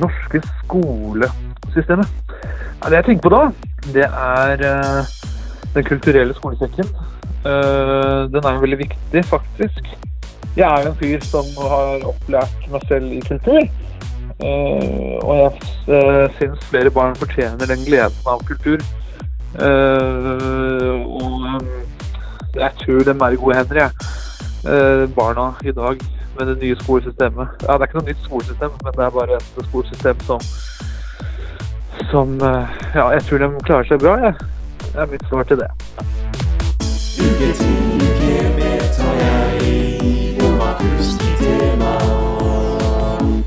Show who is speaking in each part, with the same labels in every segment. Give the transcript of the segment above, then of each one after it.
Speaker 1: norske skolesystemet. Ja, Det jeg tenker på da, det er eh, Den kulturelle skolesekken. Eh, Den er jo veldig viktig, faktisk. Jeg er jo en fyr som har opplært meg selv i kultur. eh, Og jeg uh, syns flere barn fortjener den gleden av kultur. Eh, og eh, jeg tror dem er i gode hender, jeg. Eh, barna i dag med det nye skolesystemet. Ja, det er ikke noe nytt skolesystem, men det er bare et skolesystem som som eh, Ja, jeg tror de klarer seg bra, jeg. Det er mitt svar til det.
Speaker 2: Uke ti, uke med tar jeg i Bomakus i tema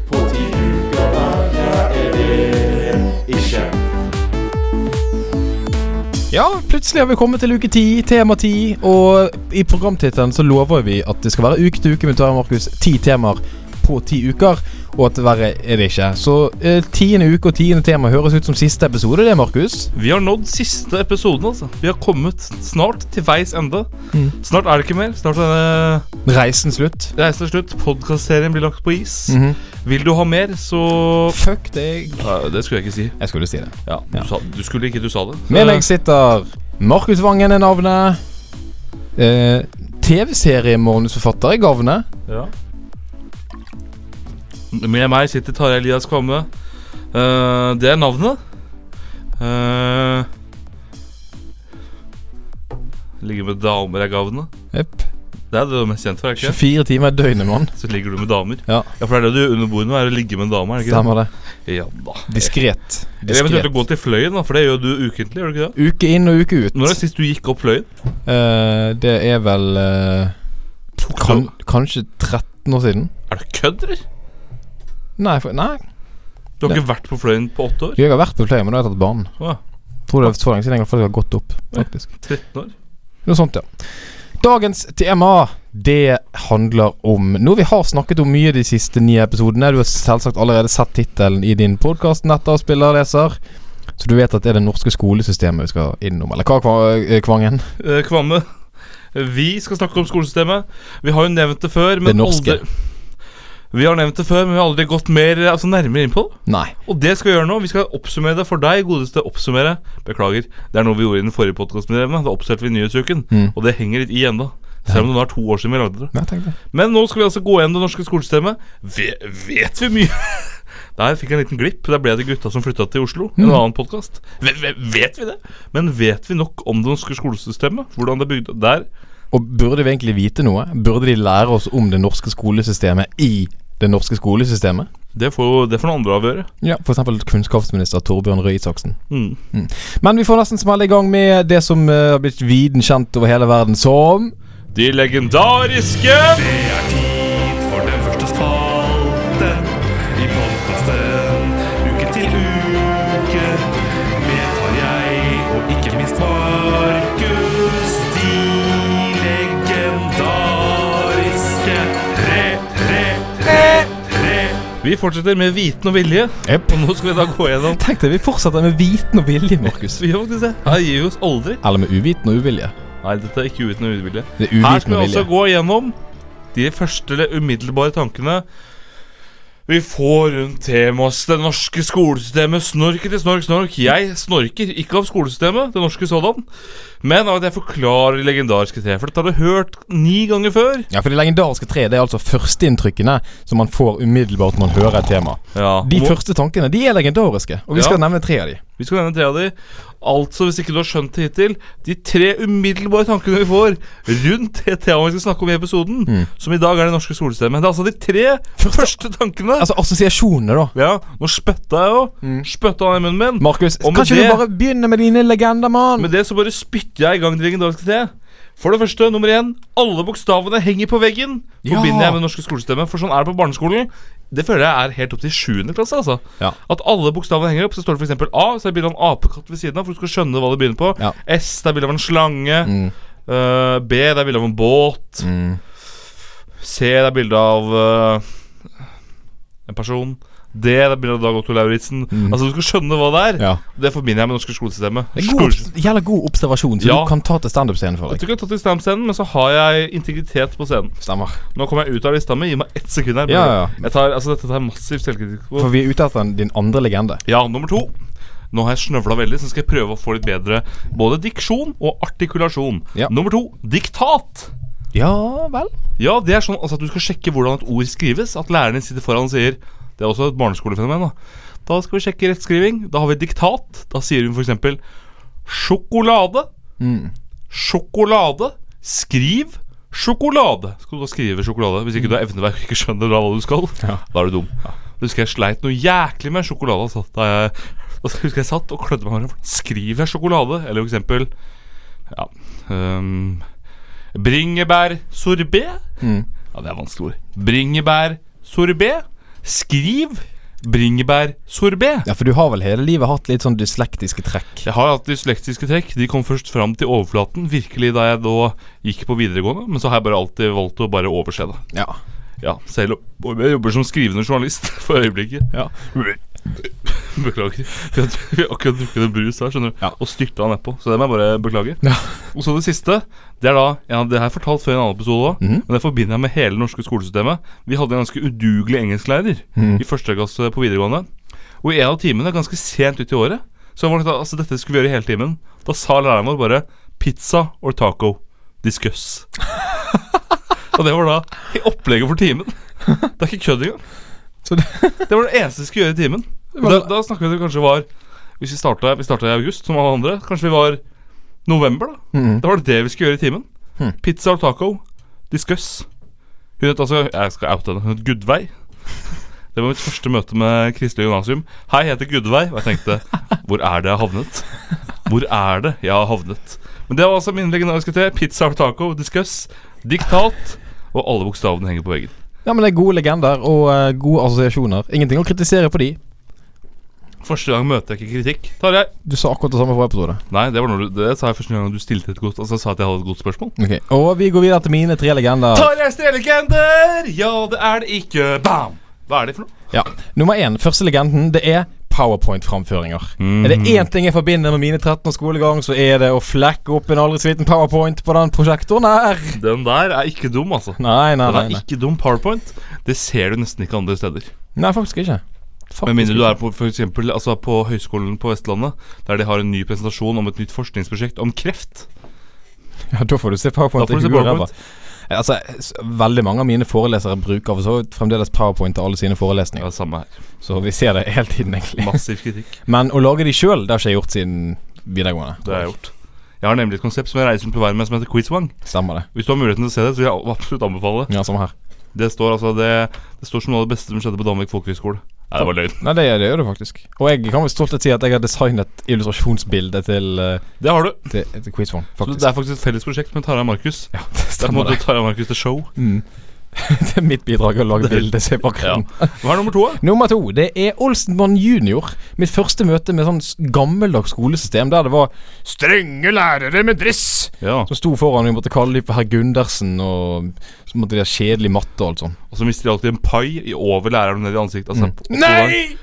Speaker 2: På ti uker hver jeg er det ikke
Speaker 3: Ja, plutselig har vi kommet til uke 10, tema 10, og i programtittelen så lover vi at det skal være uke til uke med Tore Markus. Ti temaer på ti uker, og at verre er det ikke. Så eh, tiende uke og tiende tema høres ut som siste episode, det, Markus.
Speaker 4: Vi har nådd siste episoden, altså. Vi har kommet snart til veis ende.
Speaker 3: Mm.
Speaker 4: Snart er det ikke mer. Snart er denne
Speaker 3: Reisen slutt.
Speaker 4: reisen er slutt. Podkastserien blir lagt på is.
Speaker 3: Mhm.
Speaker 4: Vil du ha mer, så
Speaker 3: Fuck deg.
Speaker 4: Eh, Det skulle jeg ikke si.
Speaker 3: Jeg skulle si det.
Speaker 4: Ja, du,
Speaker 3: Ja.
Speaker 4: Sa, du skulle ikke, du sa det.
Speaker 3: Med meg
Speaker 4: Eh,
Speaker 3: sitter Markus Vangen er navnet. Eh, TV-seriemanusforfatter er gavnet.
Speaker 4: Ja. Med meg sitter Tarjei Elias Kvamme. Eh, det er navnet. Eh, ligger med damer er gavene.
Speaker 3: Jepp.
Speaker 4: Det er det du er mest kjent for, er det ikke?
Speaker 3: 24 timer i døgnet, mann.
Speaker 4: Så ligger du med damer.
Speaker 3: Ja.
Speaker 4: for det er det du gjør under bordet nå, er å ligge med en dame. er det ikke
Speaker 3: Stemmer det.
Speaker 4: det? Ja da.
Speaker 3: Diskret.
Speaker 4: Eller eventuelt å gå
Speaker 3: Diskret.
Speaker 4: til fløyen, da, for det gjør du ukentlig. gjør du ikke det?
Speaker 3: Uke inn og uke ut.
Speaker 4: Når er det sist du gikk opp fløyen?
Speaker 3: Eh, det er vel eh, kan,
Speaker 4: du-
Speaker 3: Kanskje 13 år siden?
Speaker 4: Er du kødd, eller?
Speaker 3: Nei, for, nei.
Speaker 4: Du har ikke vært på fløyen på åtte år?
Speaker 3: jeg har vært på Fløy, men da har jeg tatt banen.
Speaker 4: Å, ja.
Speaker 3: Tror det er så lenge siden jeg har faktisk har gått opp. faktisk
Speaker 4: 13 år?
Speaker 3: Noe sånt, ja. Dagens tema, det handler om noe vi har snakket om mye de siste ni episodene. Du har selvsagt allerede sett tittelen i din podkast, nettavspiller, leser. Så du vet at det er det norske skolesystemet vi skal innom. Eller hva, Kva- Kvangen?
Speaker 4: Eh, Kvamme, vi skal snakke om skolesystemet. Vi har jo nevnt det før, men
Speaker 3: Det norske.
Speaker 4: aldri Vi har nevnt det før, men vi har aldri gått mer altså, nærmere inn på det.
Speaker 3: Nei.
Speaker 4: Og det skal vi gjøre nå. Vi skal oppsummere det for deg, godeste oppsummere. Beklager, det er noe vi gjorde i den forrige podkasten vi drev med. Da oppsummerte vi Nyhetsuken,
Speaker 3: Mm.
Speaker 4: og det henger litt i ennå. Selv om det nå er to år siden vi lagde det.
Speaker 3: Nei, tenk det.
Speaker 4: Men nå skal vi altså gå igjen det norske skolesystemet. Ve vet vi mye? Der fikk jeg en liten glipp. Der ble det gutta som flytta til Oslo. En annen podkast. Vet vi det? Men vet vi nok om det norske skolesystemet? Hvordan det er bygd opp? Der
Speaker 3: Og burde vi egentlig vite noe? Burde de lære oss om det norske skolesystemet i det norske skolesystemet?
Speaker 4: Det får jo det får noen andre avgjøre.
Speaker 3: Ja, F.eks. kunnskapsminister Torbjørn Røe Isaksen.
Speaker 4: Mm.
Speaker 3: Men vi får nesten smelle i gang med det som eh, har blitt viden kjent over hele verden som
Speaker 4: De legendariske
Speaker 2: Det er tid for den første spalten I podcasten Uke til uke Med tar jeg Og ikke minst Markus De legendariske Tre, tre, tre, tre
Speaker 4: Vi fortsetter med viten og vilje.
Speaker 3: Jepp.
Speaker 4: Og nå skal vi da gå gjennom
Speaker 3: Tenk deg, vi fortsetter med viten og vilje, Markus.
Speaker 4: Vi gjør faktisk det. Her gir vi oss aldri.
Speaker 3: Eller med uviten og uvilje.
Speaker 4: Nei, dette er ikke uten og uvilje.
Speaker 3: Det er
Speaker 4: Her
Speaker 3: uviten
Speaker 4: skal vi
Speaker 3: og
Speaker 4: altså
Speaker 3: vilje.
Speaker 4: gå gjennom de første eller umiddelbare tankene vi får rundt temaet det norske skolesystemet. Snorket til snork, snork. Jeg snorker ikke av skolesystemet, det norske sådan, men av at jeg forklarer de legendariske tre. For dette har du hørt ni ganger før.
Speaker 3: Ja, for Det legendariske treet det er altså førsteinntrykkene som man får umiddelbart når man hører et tema.
Speaker 4: Ja,
Speaker 3: De
Speaker 4: og-
Speaker 3: første tankene de er legendariske, og vi
Speaker 4: Ja.
Speaker 3: skal nevne tre av de.
Speaker 4: Vi skal nevne tre av de. Altså, hvis ikke du har skjønt det hittil, de tre umiddelbare tankene vi får rundt det temaet vi skal snakke om i episoden, som i dag er det norske skolesystemet. Det er altså de tre Mm. første, tankene.
Speaker 3: Altså assosiasjonene, da.
Speaker 4: ja, nå spytta jeg jo.
Speaker 3: Mm.
Speaker 4: Spytta han i munnen min.
Speaker 3: Markus,
Speaker 4: Og med
Speaker 3: kan ikke
Speaker 4: det-
Speaker 3: du bare begynne med dine legender, mann?
Speaker 4: Med det så bare spytter jeg i gang de legendariske tre. For det første, nummer én, alle bokstavene henger på veggen.
Speaker 3: Ja.
Speaker 4: Forbinder jeg med det norske skolesystemet, for sånn er det på barneskolen. Det føler jeg er helt opp til 7. klasse, altså.
Speaker 3: Ja.
Speaker 4: At alle bokstavene henger opp. Så står det f.eks. A, så er det bilde av en apekatt ved siden av, for du skal skjønne hva det begynner på.
Speaker 3: Ja.
Speaker 4: S, det er bilde av en slange.
Speaker 3: Mm.
Speaker 4: Eh, B, det er bilde av en båt.
Speaker 3: Mm.
Speaker 4: C, det er bilde av eh, en person. Det da begynner Dag Otto Lauritzen.
Speaker 3: Mm.
Speaker 4: Altså, du skal skjønne hva det er.
Speaker 3: Ja.
Speaker 4: Det forbinder jeg med det norske skolesystemet.
Speaker 3: Det er god, obs- jævla god observasjon, så
Speaker 4: Ja.
Speaker 3: du kan ta til standup-scenen for
Speaker 4: Jeg
Speaker 3: deg.
Speaker 4: tror ikke jeg har tatt i stamscenen, men så har jeg integritet på scenen.
Speaker 3: Stemmer.
Speaker 4: Nå kommer jeg ut av lista mi. Gi meg ett sekund her.
Speaker 3: Ja, ja, ja.
Speaker 4: Jeg tar, altså, dette tar jeg massiv selvkritikk på.
Speaker 3: For vi er ute etter en- din andre legende.
Speaker 4: Ja, nummer to. Nå har jeg snøvla veldig, så skal jeg prøve å få litt bedre både diksjon og artikulasjon.
Speaker 3: Ja.
Speaker 4: Nummer to diktat.
Speaker 3: Ja vel?
Speaker 4: Ja, det er sånn altså, at du skal sjekke hvordan et ord skrives. At læreren din sitter foran og sier Det er også et barneskolefenomen. Da Da skal vi sjekke rettskriving. Da har vi diktat. Da sier hun f.eks. sjokolade. Sjokolade. Skriv sjokolade. Skal du da skrive sjokolade? Hvis ikke du har evneverk og ikke skjønner hva du skal, da er du dum. Jeg husker jeg sleit noe jæklig med sjokolade. Altså, da jeg, da husker jeg satt og klødde meg i håret. Hvordan Skriver jeg sjokolade? Eller for eksempel ja, um, Bringebærsorbet. Ja, det er vanskelig ord. Bringebærsorbet. Skriv bringebærsorbet.
Speaker 3: Ja, for du har vel hele livet hatt litt sånn dyslektiske trekk.
Speaker 4: Jeg har hatt dyslektiske trekk. De kom først fram til overflaten virkelig da jeg da gikk på videregående, men så har jeg bare alltid valgt å bare overse det.
Speaker 3: Ja.
Speaker 4: Ja, selv om jeg jobber som skrivende journalist for øyeblikket.
Speaker 3: Ja.
Speaker 4: Beklager. Vi har, vi har akkurat drukket en brus her, skjønner du.
Speaker 3: Ja.
Speaker 4: Og styrta nedpå. Så det må jeg bare beklage.
Speaker 3: Ja.
Speaker 4: Og så det siste. Det er da ja, Det har jeg fortalt før i en annen episode òg,
Speaker 3: Mhm.
Speaker 4: men det forbinder jeg med hele det norske skolesystemet. Vi hadde en ganske udugelig engelsklærer
Speaker 3: Mhm.
Speaker 4: i første klasse på videregående. Og i en av timene, ganske sent ut i året, så var det da, altså dette skulle vi gjøre i hele timen. Da sa læreren vår bare 'pizza or taco'. Discuss. Og det var da i opplegget for timen. Det er ikke kødd engang.
Speaker 3: Så det-
Speaker 4: Det var det eneste vi skulle gjøre i timen. Og Da, da snakket vi om det kanskje var Hvis vi starta, vi startet i august, som alle andre, kanskje vi var november, da.
Speaker 3: Mm-hmm.
Speaker 4: Da var det det vi skulle gjøre i timen.
Speaker 3: Hmm.
Speaker 4: Pizza og taco. Discuss. Hun het altså Jeg skal oute henne. Hun het Gudveig. Det var mitt første møte med Kristelig Gymnasium. Hei, jeg heter Gudveig. Og jeg tenkte Hvor er det jeg har havnet? Hvor er det jeg har havnet? Men det var altså min legendariske te. Pizza og taco. Discuss. Diktat. Og alle bokstavene henger på veggen.
Speaker 3: ja, men det er gode legender og eh, gode assosiasjoner. Ingenting å kritisere på de.
Speaker 4: Første gang møter jeg ikke kritikk. Tarjei.
Speaker 3: Du sa akkurat det samme forrige episode.
Speaker 4: Nei, det var når du, det sa jeg første gang du stilte et godt Altså jeg sa at jeg hadde et godt spørsmål.
Speaker 3: Ok, Og vi går videre til mine tre legender.
Speaker 4: Tarjei Strelegender! Ja, det er det ikke. Bam! Hva er det for noe?
Speaker 3: Ja, Nummer én, første legenden, det er powerpoint-framføringer. Er det én ting jeg forbinder med mine 13 års skolegang, så er det å flekke opp en aldri så liten powerpoint på den prosjektoren her.
Speaker 4: Den der er ikke dum, altså.
Speaker 3: Nei, nei,
Speaker 4: Den
Speaker 3: nei.
Speaker 4: er
Speaker 3: Nei,
Speaker 4: ikke dum powerpoint. Det ser du nesten ikke andre steder.
Speaker 3: nei faktisk ikke.
Speaker 4: Med mindre du
Speaker 3: ikke.
Speaker 4: er på for eksempel, altså på Høgskolen på Vestlandet, der de har en ny presentasjon om et nytt forskningsprosjekt om kreft.
Speaker 3: Ja, da får du se
Speaker 4: Da
Speaker 3: powerpoint.
Speaker 4: får du se
Speaker 3: ikke gå ræva.
Speaker 4: PowerPoint.
Speaker 3: Altså, s- Veldig mange av mine forelesere bruker for så vidt fremdeles powerpoint til alle sine
Speaker 4: Ja,
Speaker 3: forelesninger.
Speaker 4: det samme her.
Speaker 3: Så vi ser det hele tiden, egentlig.
Speaker 4: Massiv kritikk.
Speaker 3: Men å lage de sjøl, det har ikke jeg gjort siden videregående.
Speaker 4: Det har jeg gjort. Jeg har nemlig et konsept som jeg reiser rundt på verden med, som heter Quizwang.
Speaker 3: Stemmer det.
Speaker 4: Hvis du har muligheten til å se det, så vil jeg absolutt anbefale det.
Speaker 3: Ja, samme her.
Speaker 4: Det står altså det, det står som noe av det beste som skjedde på Danvik folkehøgskole. Nei, det var løgn.
Speaker 3: Nei, det, det gjør det faktisk. Og jeg kan med stolthet si at jeg har designet illustrasjonsbildet til, eh,
Speaker 4: Det har du.
Speaker 3: til, til Quizform,
Speaker 4: Så
Speaker 3: faktisk.
Speaker 4: det er faktisk et felles prosjekt med Tarjei Markus.
Speaker 3: ja, det
Speaker 4: Det er på en
Speaker 3: stemmer
Speaker 4: måte
Speaker 3: det.
Speaker 4: Tarjei Markus til show.
Speaker 3: Det er mitt bidrag å lage bildet se
Speaker 4: Ja.
Speaker 3: bakgrunnen.
Speaker 4: Hva er nummer to, da?
Speaker 3: Nummer to, det er Olsenmann junior. Mitt første møte med sånn s- gammeldags skolesystem der det var strenge lærere med dress
Speaker 4: Ja.
Speaker 3: som sto foran og vi måtte kalle dem for herr Gundersen, og så måtte de ha kjedelig matte og alt sånn.
Speaker 4: Og så mister de alltid en pai i over læreren ned i ansiktet. Altså, på- på gang.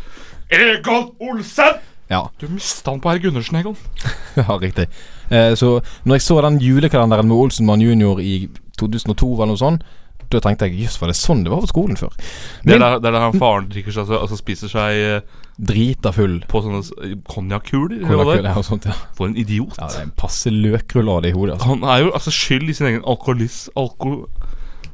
Speaker 4: Egon Olsen!
Speaker 3: Ja,
Speaker 4: Du mista han på herr Gundersen, Egon.
Speaker 3: ja riktig. Eh, så når jeg så den julekalenderen med Olsenmann junior i 2002 eller noe sånt, da tenkte jeg jøss, var det sånn det var på skolen før?
Speaker 4: Det
Speaker 3: Min-
Speaker 4: er der, det er der han faren drikker seg altså, altså spiser seg eh,
Speaker 3: Drita full.
Speaker 4: på sånne s- konjakkuler. eller hva det er.
Speaker 3: Konjakkull og sånt, ja.
Speaker 4: For en idiot.
Speaker 3: ja. Det er en passe løkrullade i hodet. Altså.
Speaker 4: Han er jo altså skyld i sin egen alkoholis... Alko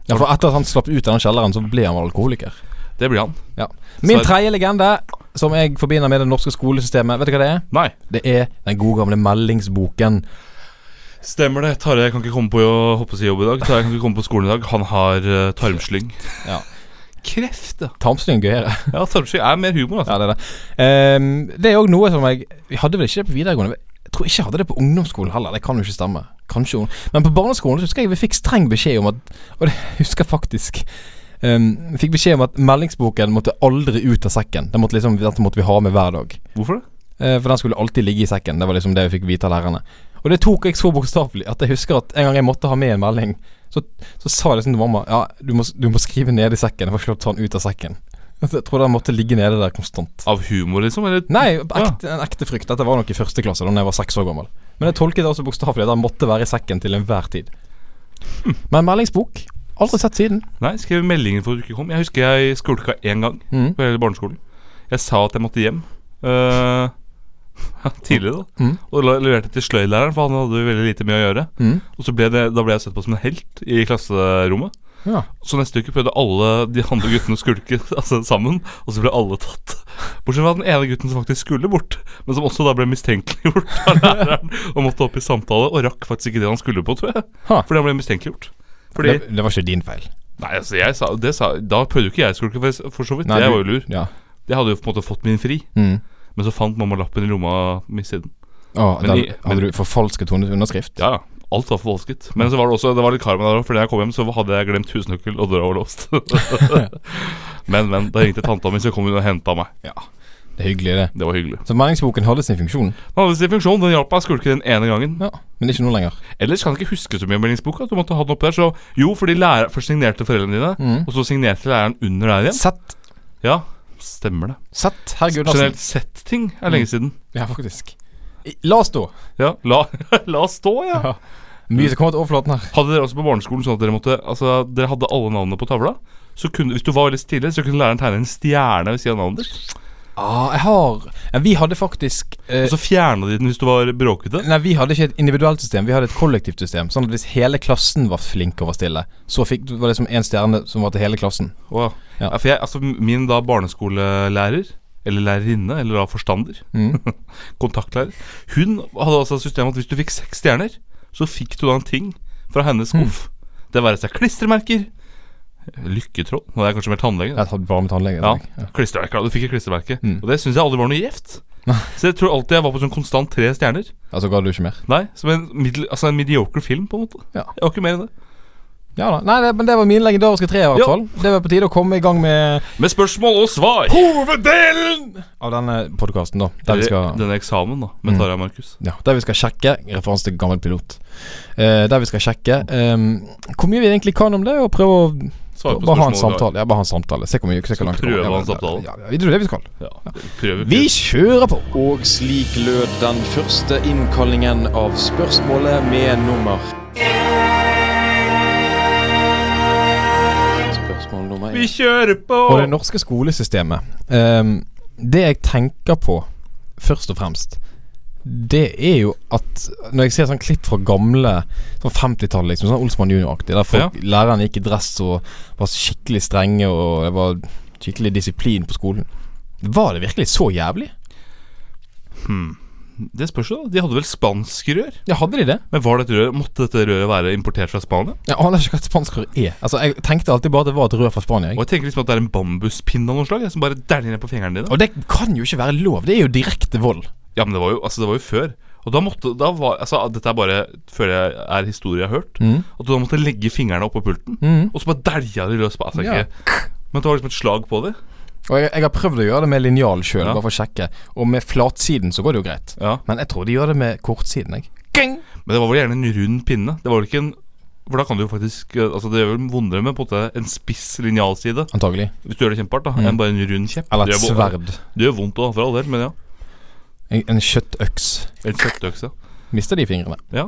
Speaker 3: Ja, for etter at han slapp ut av den kjelleren, så ble han vel alkoholiker.
Speaker 4: det blir han.
Speaker 3: Ja. Min
Speaker 4: Så-
Speaker 3: tredje legende, som jeg forbinder med det norske skolesystemet, vet du hva det er?
Speaker 4: Nei.
Speaker 3: Det er den gode gamle meldingsboken.
Speaker 4: Stemmer det. Tarjei kan ikke komme på å hoppe seg i jobb i dag. Tarjei kan ikke komme på skolen i dag. Han har eh, tarmslyng.
Speaker 3: Ja.
Speaker 4: Kreft, ja.
Speaker 3: Tarmslyng gøyere.
Speaker 4: Ja, tarmslyng er mer humor, altså.
Speaker 3: Ja, det er det. Ehm, det er òg noe som jeg Vi hadde vel ikke det på videregående. Jeg tror ikke jeg hadde det på ungdomsskolen heller. Det kan jo ikke stemme. Kanskje ung- Men på barneskolen så husker jeg vi fikk streng beskjed om at Og det husker jeg faktisk. ehm, fikk beskjed om at meldingsboken måtte aldri ut av sekken. Den måtte liksom, dette måtte vi ha med hver dag.
Speaker 4: Hvorfor det?
Speaker 3: Eh, For den skulle alltid ligge i sekken. Det var liksom det vi fikk vite av lærerne. Og det tok jeg så bokstavelig at jeg husker at en gang jeg måtte ha med en melding, så, så sa jeg liksom til mamma Ja, du må, du må skrive ned i sekken. Jeg får ikke lov til å ta den ut av sekken. Jeg tror den måtte ligge nede der konstant.
Speaker 4: Av humor, liksom? Eller?
Speaker 3: Nei, ekte, en ekte frykt. Dette var nok i første klasse, da jeg var seks år gammel. Men jeg tolket det også bokstavelig. Den måtte være i sekken til enhver tid.
Speaker 4: Hm.
Speaker 3: Men meldingsbok aldri sett siden.
Speaker 4: Nei, skrev meldinger for at du ikke kom. Jeg husker jeg skulka én gang
Speaker 3: Mhm.
Speaker 4: på hele barneskolen. Jeg sa at jeg måtte hjem. Eh, tidlig, da.
Speaker 3: Mhm.
Speaker 4: Og la- leverte til sløydlæreren, for han hadde jo veldig lite med å gjøre.
Speaker 3: Mhm.
Speaker 4: Og så ble det, Da ble jeg sett på som en helt i klasserommet.
Speaker 3: Ja.
Speaker 4: Så neste uke prøvde alle de andre guttene å skulke altså, sammen, og så ble alle tatt. Bortsett fra den ene gutten som faktisk skulle bort, men som også da ble mistenkeliggjort av læreren og måtte opp i samtale, og rakk faktisk ikke det han skulle på, tror jeg.
Speaker 3: Ha.
Speaker 4: Fordi han ble mistenkeliggjort. Fordi
Speaker 3: Det, det var ikke din feil.
Speaker 4: Nei, altså jeg sa, det sa Da prøvde jo ikke jeg skulke, for, for så vidt.
Speaker 3: Nei,
Speaker 4: jeg
Speaker 3: du-
Speaker 4: var jo lur.
Speaker 3: Ja.
Speaker 4: Jeg hadde jo på en måte fått min fri,
Speaker 3: Mm.
Speaker 4: men så fant mamma lappen i lomma mi siden.
Speaker 3: Å,
Speaker 4: Men
Speaker 3: den,
Speaker 4: i- men-
Speaker 3: hadde du forfalsket hennes underskrift?
Speaker 4: Ja, ja. Alt var forvoldsket. Men så var det også Det var litt karma der òg, for da jeg kom hjem, så hadde jeg glemt husnøkkel, og døra var låst. men, men. Da ringte tanta mi, så kom hun og henta meg.
Speaker 3: Det er hyggelig, det.
Speaker 4: Det var hyggelig.
Speaker 3: Så meldingsboken hadde sin funksjon,
Speaker 4: Den hadde sin funksjon. Den hjalp meg å skulke den ene gangen.
Speaker 3: ja. men ikke nå lenger.
Speaker 4: Ellers kan jeg ikke huske så mye om meldingsboka. Du måtte ha den oppe der. Så jo, fordi lærer, først signerte foreldrene dine,
Speaker 3: Mhm.
Speaker 4: og så signerte læreren under der igjen.
Speaker 3: Sett.
Speaker 4: Ja, stemmer det.
Speaker 3: Sett, herr Gundersen.
Speaker 4: Generelt sett ting er lenge siden.
Speaker 3: Ja, faktisk. I- La oss stå.
Speaker 4: Ja, la, la oss stå, ja.
Speaker 3: Mye som kommer til overflaten her.
Speaker 4: Hadde dere også på barneskolen sånn at dere måtte Altså, dere hadde alle navnene på tavla? Så kunne, hvis du var veldig stille, så kunne læreren tegne en stjerne ved siden av navnet ditt.
Speaker 3: Ah, jeg har ja, Vi hadde faktisk eh,
Speaker 4: Og så fjerna de den hvis du var bråkete.
Speaker 3: Nei, vi hadde ikke et individuelt system, vi hadde et kollektivt system. Sånn at hvis hele klassen var flink og var stille, så fikk, var det som én stjerne som var til hele klassen.
Speaker 4: Åh,
Speaker 3: Ja.
Speaker 4: ja. for jeg, altså, min da barneskolelærer, eller lærerinne, eller da forstander,
Speaker 3: Mm.
Speaker 4: kontaktlærer, hun hadde altså et system at hvis du fikk seks stjerner, så fikk du da en ting fra hennes skuff. Det være seg klistremerker, lykketråd Nå er jeg kanskje mer tannlege. da.
Speaker 3: Jeg hadde bare med tannlege. i
Speaker 4: Ja,
Speaker 3: dag. Ja.
Speaker 4: klistremerker. da. Du fikk et klistremerke.
Speaker 3: Mm.
Speaker 4: Og det syns jeg aldri var noe gjevt. Så jeg tror alltid jeg var på sånn konstant tre stjerner.
Speaker 3: Altså ga du ikke mer?
Speaker 4: Nei, Som en, middel, altså en mediocre film, på en måte.
Speaker 3: Ja.
Speaker 4: Jeg var ikke mer enn det.
Speaker 3: Ja da. Nei, det, men det var mine legendariske tre, i hvert
Speaker 4: Ja.
Speaker 3: fall. Det var på tide å komme i gang med
Speaker 4: Med spørsmål og svar!
Speaker 3: hoveddelen av denne podkasten, da. Der vi skal Mm.
Speaker 4: Denne eksamen, da, med Tarjei Markus.
Speaker 3: Ja, Der vi skal sjekke Referanse til gammel pilot. Eh, der vi skal sjekke eh, hvor mye vi egentlig kan om det, og prøve å
Speaker 4: Svare på
Speaker 3: bare ha en
Speaker 4: spørsmål i dag.
Speaker 3: samtale. Ja, bare ha en samtale. Se hvor mye se hvor langt det
Speaker 4: prøve
Speaker 3: kommer.
Speaker 4: å ha en samtale.
Speaker 3: Ja, ja, ja, det er det vi skal.
Speaker 4: Ja, prøver.
Speaker 3: Vi kjører på!
Speaker 5: Og slik lød den første innkallingen av spørsmålet med nummer. Spørsmål nummer én.
Speaker 4: Vi kjører på!
Speaker 3: Og det norske skolesystemet ehm, Det jeg tenker på først og fremst, det er jo at Når jeg ser sånn klipp fra gamle Sånn 50-tallet, liksom, sånn Olsmann junior-aktig, der folk, lærerne gikk i dress og var skikkelig strenge, og det var skikkelig disiplin på skolen. Var det virkelig så jævlig?
Speaker 4: Det spørs jo, da. De hadde vel spanskrør?
Speaker 3: Ja, hadde de det?
Speaker 4: Men var dette røret, måtte dette røret være importert fra Spania?
Speaker 3: Jeg aner ikke hva et spanskrør er. Altså, Jeg tenkte alltid bare at det var et rør fra Spania.
Speaker 4: Og
Speaker 3: Jeg.
Speaker 4: jeg tenker liksom at det er en bambuspinne av noe slag jeg, som bare dæljer ned på fingrene dine.
Speaker 3: Og det kan jo ikke være lov. Det er jo direkte vold.
Speaker 4: Ja, men det var jo, altså, det var jo før. Og da måtte da var, altså, Dette er bare før jeg er historie jeg har hørt.
Speaker 3: Mm.
Speaker 4: At du da måtte legge fingrene oppå pulten, og så bare dælja de løs på altså,
Speaker 3: Ja.
Speaker 4: ikke- Men det var liksom et slag på det.
Speaker 3: Og jeg, jeg har prøvd å gjøre det med linjal sjøl,
Speaker 4: Ja.
Speaker 3: bare for å sjekke. Og med flatsiden så går det jo greit.
Speaker 4: Ja.
Speaker 3: Men jeg tror de gjør det med kortsiden, jeg.
Speaker 4: Men det var vel gjerne en rund pinne. Det var vel ikke en For da kan du jo faktisk eh, Altså Det gjør vel vondere med på en måte en spiss linjalside,
Speaker 3: Antagelig.
Speaker 4: hvis du gjør det kjempehardt, da, enn bare en rund kjepp.
Speaker 3: Mm. Eller
Speaker 4: Det
Speaker 3: et
Speaker 4: gjør vo-
Speaker 3: sverd.
Speaker 4: Det gjør vondt òg, for all del, men ja.
Speaker 3: En, en kjøttøks.
Speaker 4: En kjøttøkse.
Speaker 3: Mister de fingrene.
Speaker 4: Ja.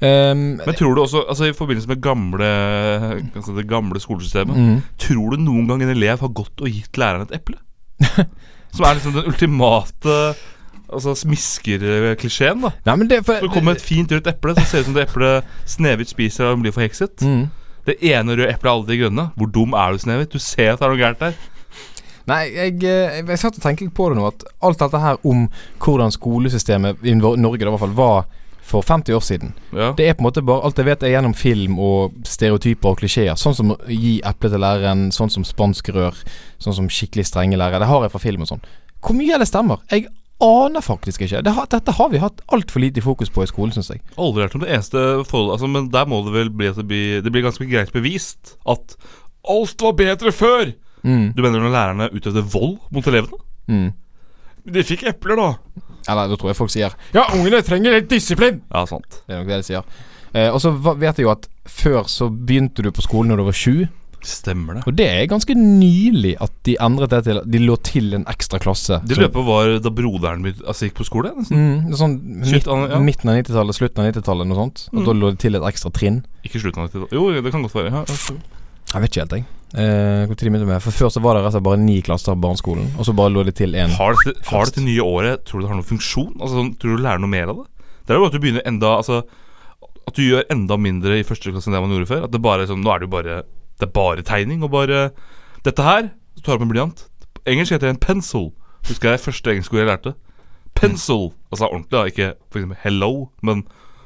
Speaker 3: Ehm,
Speaker 4: Men tror du også, altså i forbindelse med gamle altså det gamle skolesystemet,
Speaker 3: Mhm.
Speaker 4: tror du noen gang en elev har gått og gitt læreren et eple? Som er liksom den ultimate altså smiskerklisjeen, da.
Speaker 3: nei, men det for,
Speaker 4: Så kommer et fint rødt eple, så ser det ut som det eplet Snehvit spiser og hun blir forhekset.
Speaker 3: Mhm.
Speaker 4: Det ene røde eplet er alle de grønne. Hvor dum er du, Snehvit? Du ser at det er noe gærent der.
Speaker 3: Nei, jeg, eh, jeg, jeg satt og tenkte på det nå, at alt dette her om hvordan skolesystemet i Nor- Norge da, i hvert fall var for 50 år siden
Speaker 4: Ja.
Speaker 3: Det er på en måte bare alt jeg vet er gjennom film og stereotyper og klisjeer. Sånn som å gi eple til læreren, sånn som spansk rør, sånn som skikkelig strenge lærere. Det har jeg fra film og sånn. Hvor mye av det stemmer? Jeg aner faktisk ikke. Det har, dette har vi hatt altfor lite fokus på i skolen, syns jeg.
Speaker 4: Aldri hørt om det eneste forhold altså, Men der må det vel bli at det blir, det blir ganske greit bevist at alt var bedre før. Du mener når lærerne utøvde vold mot elevene?
Speaker 3: Mm.
Speaker 4: De fikk epler, da.
Speaker 3: Eller da tror jeg folk sier Ja, ungene trenger litt disiplin!
Speaker 4: Ja, sant.
Speaker 3: Det er nok det de sier. Eh, og så va- vet jeg jo at før så begynte du på skolen når du var sju,
Speaker 4: Stemmer det.
Speaker 3: Og det er ganske nylig at de endret det til at de lå til en ekstra klasse.
Speaker 4: Det
Speaker 3: Så-
Speaker 4: løpet var da broderen min altså, gikk på skole. nesten.
Speaker 3: Mm, sånn midt,
Speaker 4: Slutt av- ja.
Speaker 3: midten av 90-tallet, slutten av 90-tallet, noe sånt. Og
Speaker 4: Mm.
Speaker 3: da lå det til et ekstra trinn.
Speaker 4: Ikke slutten av 90-tallet. Jo, det kan godt være. Ja, altså.
Speaker 3: Jeg vet ikke helt, jeg. Eh, hvor tid begynte vi med? For Før så var det rett og slett bare ni klasser på barneskolen, og så bare lå det til én.
Speaker 4: Har det- har dette nye året Tror du det har noen funksjon? Altså, sånn, tror du du lærer noe mer av det? Det er jo at du begynner enda Altså At du gjør enda mindre i første klasse enn det man gjorde før. At det bare er sånn Nå er det jo bare Det er bare tegning og bare Dette her Så tar du opp en blyant. På Engelsk heter det en pencil. Husker jeg første engelskord jeg lærte. Pencil. Altså ordentlig, da. Ikke for eksempel hello, men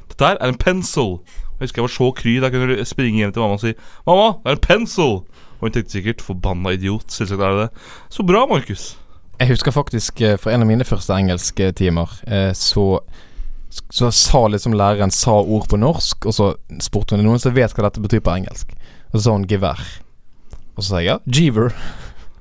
Speaker 4: dette her er en pencil. Jeg husker jeg var så kry. Da kunne du springe hjem til mamma og si 'Mamma, det er en pencil!' Og hun tenkte sikkert 'Forbanna idiot'. Selvsagt er det det. Så bra, Markus.
Speaker 3: Jeg husker faktisk eh, fra en av mine første engelsktimer, eh, så så sa liksom læreren sa ord på norsk, og så spurte hun "Er det noen som vet hva dette betyr på engelsk. Og så sa hun gevær. Og så sa jeg ja, jeever.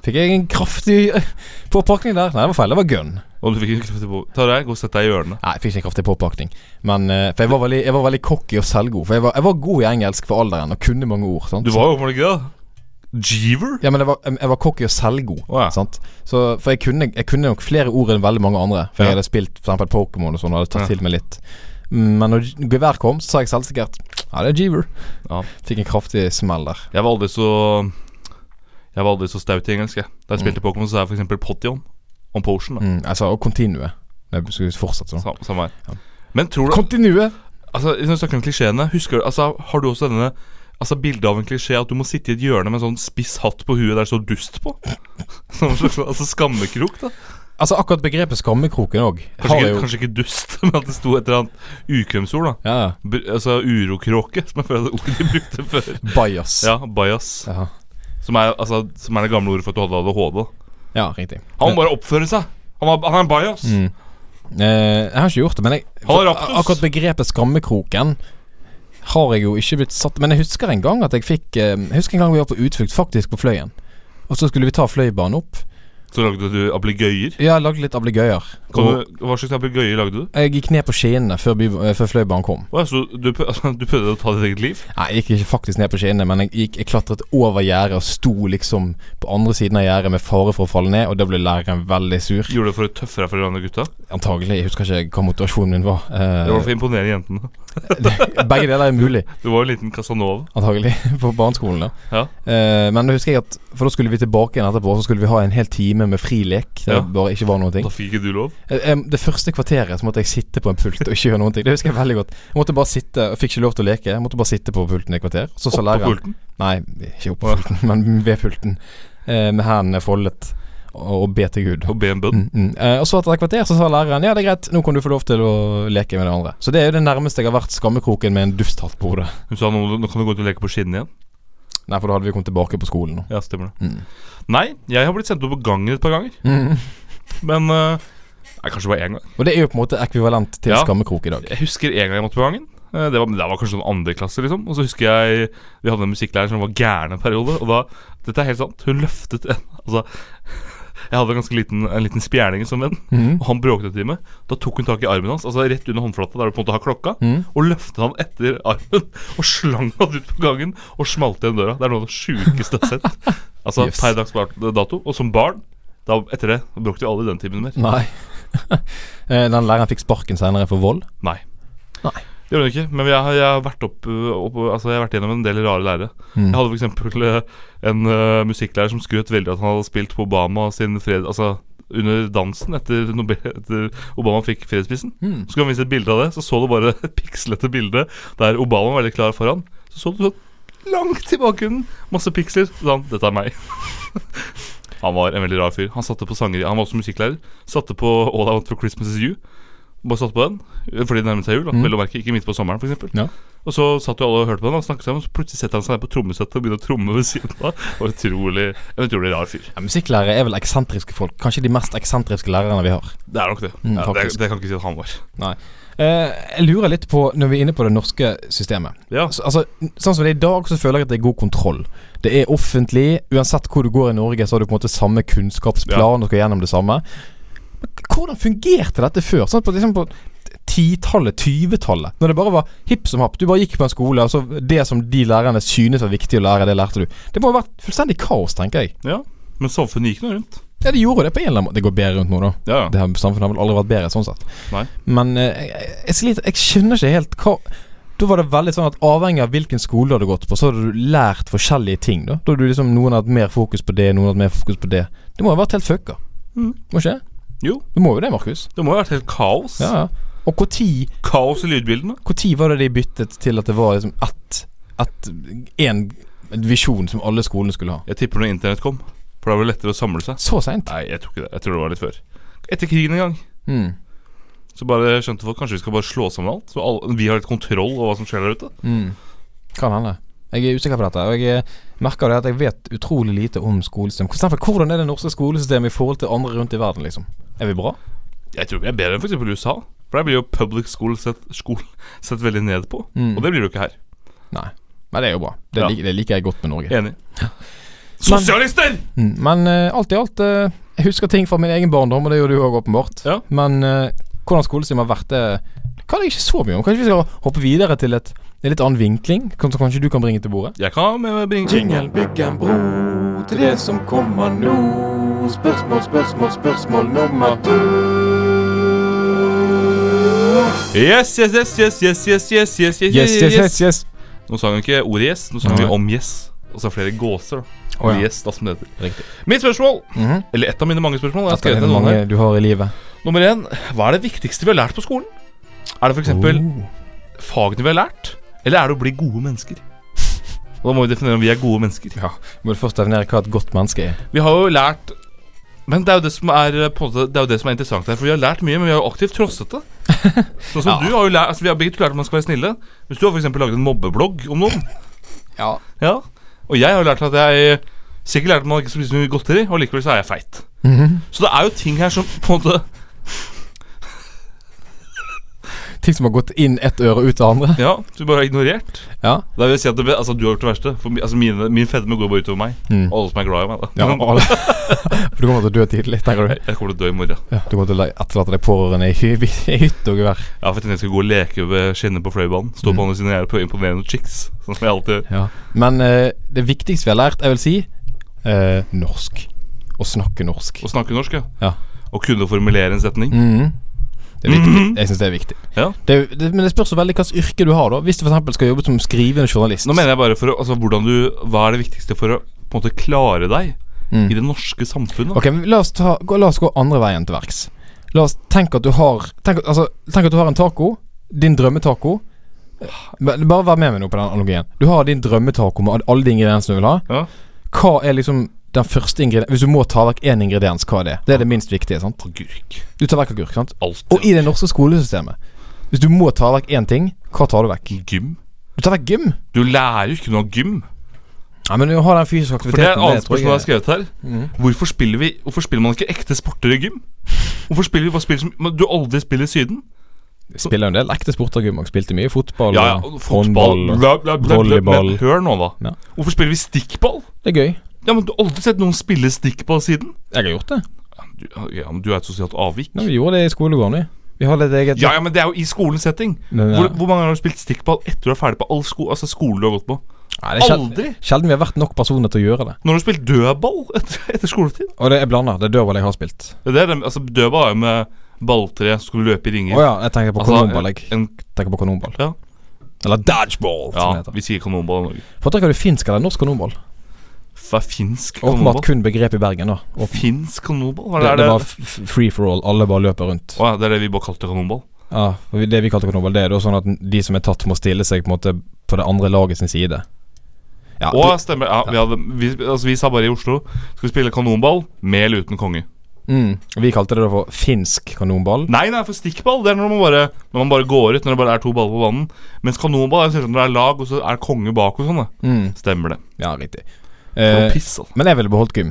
Speaker 3: Fikk jeg en kraftig eh, påpakning der. Nei, det var feil. Det var gun.
Speaker 4: Og du fikk ikke kraftig på Ta deg, gå og sett deg i hjørnet.
Speaker 3: Nei, jeg fikk ikke kraftig påpakning. Men, eh, for jeg var veldig, jeg var veldig cocky og selvgod. For jeg var, jeg var god i engelsk for alderen og kunne mange ord. Sant?
Speaker 4: Du var jo åpenbart ikke det. Jeever?
Speaker 3: Ja, men jeg var, jeg var cocky og selvgod.
Speaker 4: Å, ja.
Speaker 3: Sant? Så, for jeg kunne, jeg kunne nok flere ord enn veldig mange andre. For
Speaker 4: Ja.
Speaker 3: jeg hadde spilt for eksempel Pokémon og sånn og hadde tatt
Speaker 4: Ja.
Speaker 3: til meg litt. Mm, Men når gevær kom, så sa jeg selvsikkert Ja, det er Jeever.
Speaker 4: Ja.
Speaker 3: Fikk en kraftig smell der.
Speaker 4: Jeg var aldri så Jeg var aldri så staut i engelsk. jeg. Da jeg spilte Pokémon, så sa jeg for eksempel Potion og Potion. Da.
Speaker 3: Mm, jeg sa å continue. Men Jeg skulle fortsette sånn.
Speaker 4: Sam, samme her. Men tror du
Speaker 3: Continue!
Speaker 4: Altså, Hvis vi snakker om klisjeene Husker du Altså, Har du også denne Altså, bildet av en klisjé at du må sitte i et hjørne med en sånn spiss hatt på huet der det står dust på? Som en slags altså, skammekrok, da.
Speaker 3: Altså, akkurat begrepet skammekroken òg
Speaker 4: Kanskje
Speaker 3: har
Speaker 4: ikke,
Speaker 3: jo
Speaker 4: kanskje ikke dust, men at det sto et eller annet ukvemsord, da.
Speaker 3: ja, ja.
Speaker 4: Br altså urokråke, som jeg føler at ordet de brukte før.
Speaker 3: bias.
Speaker 4: Ja, bajas.
Speaker 3: Ja.
Speaker 4: Som er, altså, som er det gamle ordet for at du hadde ADHD.
Speaker 3: ja, riktig.
Speaker 4: Han må bare oppføre seg. Han, var, han er en bajas.
Speaker 3: Mm. Eh, jeg har ikke gjort det, men jeg,
Speaker 4: Har
Speaker 3: for,
Speaker 4: raptus.
Speaker 3: akkurat begrepet skammekroken har jeg jo ikke blitt satt Men jeg husker en gang at jeg fikk eh, Jeg husker en gang vi var på utflukt, faktisk på Fløyen. Og så skulle vi ta Fløibanen opp.
Speaker 4: Så lagde du ablegøyer.
Speaker 3: Ja, jeg lagde litt ablegøyer. Og
Speaker 4: Kan du- Hva slags ablegøyer lagde du?
Speaker 3: Jeg gikk ned på skinnene før, by- eh, før Fløibanen kom.
Speaker 4: Å, ja, så du, prø- altså, du prøvde å ta ditt eget liv?
Speaker 3: Nei, jeg gikk ikke faktisk ned på skinnene, men jeg, gikk, jeg klatret over gjerdet og sto liksom på andre siden av gjerdet med fare for å falle ned, og da ble læreren veldig sur.
Speaker 4: Gjorde det for å tøffe deg for de andre gutta?
Speaker 3: Antagelig. Jeg husker ikke hva motivasjonen min var. Eh,
Speaker 4: Det var for å imponere jentene.
Speaker 3: begge deler er mulig.
Speaker 4: Du var en liten Casanova.
Speaker 3: antagelig, på barneskolen. da
Speaker 4: Ja.
Speaker 3: Eh, Men da husker jeg at For da skulle vi tilbake igjen etterpå, så skulle vi ha en hel time med fri lek. Der
Speaker 4: Ja.
Speaker 3: det bare ikke var noen ting.
Speaker 4: Da fikk ikke du lov.
Speaker 3: Eh, em, Det første kvarteret så måtte jeg sitte på en pult og ikke gjøre noen ting. Det husker jeg veldig godt. Jeg måtte bare sitte, og fikk ikke lov til å leke. Jeg måtte bare sitte på pulten i et kvarter. Så sa
Speaker 4: Opp på
Speaker 3: læreren
Speaker 4: pulten.
Speaker 3: Nei, ikke opp på pulten, men ved pulten. eh, Med hendene foldet. Og og be til Gud.
Speaker 4: Og be en bønn.
Speaker 3: Mm, mm. Eh, Og så etter et kvarter så sa læreren Ja, det er greit, nå kan du få lov til å leke med de andre. Så det er jo det nærmeste jeg har vært skammekroken med en dufthatt på hodet.
Speaker 4: Hun sa nå, nå kan du gå ut og leke på skinnene igjen.
Speaker 3: Nei, for da hadde vi kommet tilbake på skolen. nå.
Speaker 4: Ja, stemmer det.
Speaker 3: Mm.
Speaker 4: Nei, jeg har blitt sendt opp på gangen et par ganger.
Speaker 3: Mm.
Speaker 4: Men eh, Nei, kanskje bare én gang.
Speaker 3: Og det er jo på en måte ekvivalent til
Speaker 4: Ja.
Speaker 3: skammekrok i dag.
Speaker 4: Jeg husker en gang jeg måtte på gangen. Eh, Det var, det var kanskje sånn andre klasse, liksom. Og så husker jeg vi hadde en musikklærer som var gæren en periode. Og da Dette er helt sant. Hun løftet en Altså, jeg hadde en ganske liten, en liten spjerning som venn, og han bråkte til meg. Da tok hun tak i armen hans, altså rett under håndflata, der du på en måte har klokka, og løftet han etter armen og slang han ut på gangen og smalt igjen døra. Det er noe av det sjukeste jeg har sett. Altså
Speaker 3: Yes.
Speaker 4: per dags dato. Og som barn, da, etter det, bråkte jo alle i den timen mer.
Speaker 3: Nei. Eh, Den læreren fikk sparken senere for vold.
Speaker 4: Nei.
Speaker 3: Nei.
Speaker 4: Det gjorde hun ikke, men jeg, har- jeg, har vært opp, ø, opp, ø, altså jeg har vært gjennom en del rare lærere. Jeg hadde f.eks. en ø, musikklærer som skrøt veldig at han hadde spilt på Obama sin fred... Altså under dansen etter, Nobel, etter Obama fikk fredsprisen. Så kan vi vise et bilde av det, så så du bare et pikslete bilde der Obama var veldig klar foran. Så så du sånn langt i bakgrunnen, masse piksler. Så sa han 'dette er meg'. Han var en veldig rar fyr. Han satte på sanger Han var også musikklærer. Satte på All I Want for Christmas Is You. Bare satte på den fordi det nærmet seg jul. Da. Vel å merke, ikke midt på sommeren, f.eks.
Speaker 3: Mm. Ja.
Speaker 4: Og så satt jo alle og hørte på den og snakket sammen, så plutselig setter han seg ned på trommesettet og begynner å tromme ved siden av. Det var utrolig, en utrolig rar fyr.
Speaker 3: Ja, Musikklærere er vel eksentriske folk. Kanskje de mest eksentriske lærerne vi har.
Speaker 4: Det er nok det.
Speaker 3: Mm,
Speaker 4: ja, det,
Speaker 3: faktisk.
Speaker 4: det kan ikke si at han var.
Speaker 3: Nei. Eh, jeg lurer litt på, når vi er inne på det norske systemet
Speaker 4: Ja,
Speaker 3: altså, altså, Sånn som det er i dag, så føler jeg at det er god kontroll. Det er offentlig. Uansett hvor du går i Norge, så har du på en måte samme kunnskapsplan og skal gjennom det samme. Men k- hvordan fungerte dette før? Sånn på, liksom på titallet, tyvetallet. Når det bare var hipp som happ. Du bare gikk på en skole, og så det som de lærerne synes var viktig å lære, det lærte du. Det må ha vært fullstendig kaos, tenker jeg.
Speaker 4: Ja, Men samfunnet gikk nå rundt.
Speaker 3: Ja, de gjorde det på en eller annen måte. Det går bedre rundt nå, da.
Speaker 4: Ja,
Speaker 3: Det her samfunnet har vel aldri vært bedre sånn sett.
Speaker 4: Nei.
Speaker 3: Men eh, jeg, jeg, sliter, jeg skjønner ikke helt hva Da var det veldig sånn at avhengig av hvilken skole du hadde gått på, så hadde du lært forskjellige ting. Da Da hadde du liksom noen hadde hatt mer fokus på det, noen hadde mer fokus på det. Det må ha vært helt fucka.
Speaker 4: Mm.
Speaker 3: Må ikke det?
Speaker 4: Jo.
Speaker 3: Det må jo det, Markus.
Speaker 4: Det må ha vært helt kaos.
Speaker 3: Ja, ja. Og hvor tid,
Speaker 4: Kaos i lydbildene.
Speaker 3: hvor tid var det de byttet til at det var liksom ett ett- En visjon som alle skolene skulle ha?
Speaker 4: Jeg tipper når internett kom, for da var det lettere å samle seg.
Speaker 3: Så seint?
Speaker 4: Nei, jeg tror ikke det. Jeg tror det var litt før. Etter krigen en gang.
Speaker 3: Mm.
Speaker 4: Så bare skjønte folk kanskje vi skal bare slå sammen alt. Så alle, vi har litt kontroll over hva som skjer der ute.
Speaker 3: Mm. Kan hende. Jeg er usikker på dette. Og jeg eh, merker det at jeg vet utrolig lite om skolesystem. For eksempel, hvordan er det norske skolesystemet i forhold til andre rundt i verden, liksom? Er vi bra?
Speaker 4: Jeg tror vi er bedre enn f.eks. USA. For der blir jo public school sett, skol, sett veldig ned på.
Speaker 3: Mm.
Speaker 4: Og det blir det jo ikke her.
Speaker 3: Nei, det er jo bra. Det,
Speaker 4: Ja.
Speaker 3: lik, det liker jeg godt med Norge.
Speaker 4: Enig. Sosialister!
Speaker 3: Mm. Men eh, alt i alt eh, Jeg husker ting fra min egen barndom, og det gjør du òg, åpenbart.
Speaker 4: Ja.
Speaker 3: Men eh, hvordan skolesystemet har vært, det kan jeg ikke så mye om. Kanskje vi skal hoppe videre til et, en litt annen vinkling, som kanskje du kan bringe til bordet?
Speaker 4: Jeg kan med meg bringe
Speaker 5: Jingle bygg en bro til det som kommer nå. Spørsmål, spørsmål, spørsmål nummer to.
Speaker 4: Yes, yes, yes, yes, yes, yes, yes, yes, yes,
Speaker 3: Yes, yes, yes. yes.
Speaker 4: Nå sang vi ikke ordet yes, nå sang vi
Speaker 3: Nei.
Speaker 4: om yes. Og så flere gåser, da.
Speaker 3: Å, ja.
Speaker 4: Yes, da som det heter.
Speaker 3: Riktig.
Speaker 4: Mitt spørsmål,
Speaker 3: Mhm.
Speaker 4: eller et av mine mange spørsmål, jeg har
Speaker 3: Dette
Speaker 4: skrevet
Speaker 3: er
Speaker 4: ned
Speaker 3: det
Speaker 4: noen
Speaker 3: mange
Speaker 4: her.
Speaker 3: du har i livet.
Speaker 4: Nummer én, hva er det viktigste vi har lært på skolen? Er det f.eks. eksempel
Speaker 3: Oh.
Speaker 4: fagene vi har lært, eller er det å bli gode mennesker? Og da må vi definere om vi er gode mennesker.
Speaker 3: Ja, Må du først definere hva et godt menneske er.
Speaker 4: Vi har jo lært Men det er jo det som er, eh, på en måte, det er, jo det som er interessant her. For vi har lært mye, men vi har jo aktivt trosset det. Sånn som
Speaker 3: Ja.
Speaker 4: du har jo lært, altså Vi har begge to lært at man skal være snille. Hvis du har for eksempel laget en mobbeblogg om noen
Speaker 3: Ja.
Speaker 4: Ja Og jeg har jo lært at jeg Sikkert lært at man ikke skal spise så mye godteri, og likevel så er jeg feit.
Speaker 3: Mhm.
Speaker 4: Så det er jo ting her som på en måte
Speaker 3: Ting som har gått inn ett øre ut det andre.
Speaker 4: Ja, du bare har ignorert.
Speaker 3: Ja.
Speaker 4: Da vil jeg si at det, be- altså, du har gjort det verste. For mi- altså, mine, min fedme går bare utover meg.
Speaker 3: Mm.
Speaker 4: Og alle som er glad i meg. da
Speaker 3: ja og alle. For du kommer til å dø tidlig, tenker du.
Speaker 4: Jeg kommer til å dø i morgen.
Speaker 3: Ja, du kommer til å la- etterlate deg pårørende i hy- i hytte og gevær.
Speaker 4: Ja, for jeg tenkte jeg skulle gå og leke ved skinnet på fløibanen. Stå
Speaker 3: Mm.
Speaker 4: på andre siden av gjerdet og prøve å imponere noen chicks. Sånn som jeg alltid gjør.
Speaker 3: Ja. Men eh, det viktigste vi har lært, jeg vil si eh, norsk. Å snakke norsk.
Speaker 4: Å snakke norsk, ja.
Speaker 3: Ja.
Speaker 4: Å kunne formulere en setning.
Speaker 3: Mhm. Det er viktig. Jeg syns det er viktig.
Speaker 4: Mhm. Ja.
Speaker 3: Det, er jo- det, men det spørs så veldig hvilket yrke du har. da Hvis du for eksempel skal jobbe som skrivende journalist.
Speaker 4: Nå mener jeg bare for å, altså, hvordan du, Hva er det viktigste for å på en måte klare deg
Speaker 3: Mm.
Speaker 4: i det norske samfunnet?
Speaker 3: Ok, men la oss, ta, gå, la oss gå andre veien til verks. La oss tenke at du har Tenk, at- altså, tenk at du har en taco. Din drømmetaco. Ba- Bare vær med meg nå på den analogien. Du har din drømmetaco med alle de ingrediensene du vil ha.
Speaker 4: Ja.
Speaker 3: Hva er liksom den første ingrediensen Hvis du må ta vekk én ingrediens, hva er det? Det er det minst viktige. sant?
Speaker 4: Agurk.
Speaker 3: Du tar vekk agurk. sant?
Speaker 4: Alt.
Speaker 3: Og i det norske skolesystemet, hvis du må ta vekk én ting, hva tar du vekk?
Speaker 4: Gym.
Speaker 3: Du tar vekk gym.
Speaker 4: Du lærer jo ikke noe av gym.
Speaker 3: Nei, men du har den fysiske
Speaker 4: For det er et
Speaker 3: aktiviteten
Speaker 4: annet
Speaker 3: tror jeg Mm.
Speaker 4: spørsmål jeg har
Speaker 3: er-
Speaker 4: skrevet her. Hvorfor, spiller vi, hvorfor spiller man ikke ekte sporter i gym? Hvorfor spiller vi bare spill som men du aldri spiller i Syden?
Speaker 3: Spiller jo en del ekte sporter, Gummak. Spilte mye fotball.
Speaker 4: Ja, ja,
Speaker 3: og
Speaker 4: og
Speaker 3: håndball,
Speaker 4: fotball,
Speaker 3: og-
Speaker 4: bla, bla, bla, bla, bla.
Speaker 3: volleyball.
Speaker 4: Men hør nå, da.
Speaker 3: Ja.
Speaker 4: Hvorfor spiller vi stikkball?
Speaker 3: Det er gøy.
Speaker 4: Ja, men Du har aldri sett noen spille stikkball siden?
Speaker 3: Jeg har gjort det.
Speaker 4: Du, ja, men du er et sosialt avvik.
Speaker 3: Nei, vi gjorde det i skolegården, vi. Vi hadde et eget
Speaker 4: Ja, ja, men det er jo i skolens setting.
Speaker 3: Men, ja.
Speaker 4: Hvor, hvor mange ganger har du spilt stikkball etter du er ferdig på all sko altså skolen du har gått på?
Speaker 3: Nei, det er sjel-
Speaker 4: aldri.
Speaker 3: Sjelden vi har vært nok personer til å gjøre det.
Speaker 4: Når har du spilt dødball etter, etter skoletid?
Speaker 3: Og det er blanda. Det er dødball jeg har spilt.
Speaker 4: Det er, det- altså, dødball er jo med balltre som skulle løpe i
Speaker 3: Å
Speaker 4: ringer.
Speaker 3: ja, jeg tenker på
Speaker 4: Altså,
Speaker 3: kanonball. Jeg
Speaker 4: en,
Speaker 3: tenker på kanonball.
Speaker 4: Ja.
Speaker 3: Eller dodgeball, som
Speaker 4: ja,
Speaker 3: det heter.
Speaker 4: vi sier kanonball i Norge.
Speaker 3: Fått dere det finsk eller norsk kanonball?
Speaker 4: Hva er finsk
Speaker 3: Åpenbart
Speaker 4: kanonball?
Speaker 3: kun begrep i Bergen, da. Og det,
Speaker 4: Finsk kanonball? Hva
Speaker 3: det,
Speaker 4: er det, er
Speaker 3: var
Speaker 4: det?
Speaker 3: f- f- free for all. Alle bare løper rundt.
Speaker 4: Å ja, det er det vi bare kalte kanonball?
Speaker 3: Ja, for Det vi kalte kanonball, det er da sånn at de som er tatt, må stille seg på en måte på det andre laget sin side. Ja,
Speaker 4: Å, stemmer. Ja, vi, hadde, vi, altså, vi sa bare i Oslo skal vi spille kanonball med eller uten konge.
Speaker 3: Mm. Vi kalte det da for finsk kanonball.
Speaker 4: Nei, nei, for stikkball det er når man bare, når man bare går ut, når det bare er to baller på banen. Mens kanonball er jo selvsagt når det er lag, og så er konge bak og sånn. da.
Speaker 3: Mm.
Speaker 4: Stemmer det.
Speaker 3: Ja, riktig.
Speaker 4: Det var
Speaker 3: Eh,
Speaker 4: piss, altså.
Speaker 3: Men jeg ville beholdt gym.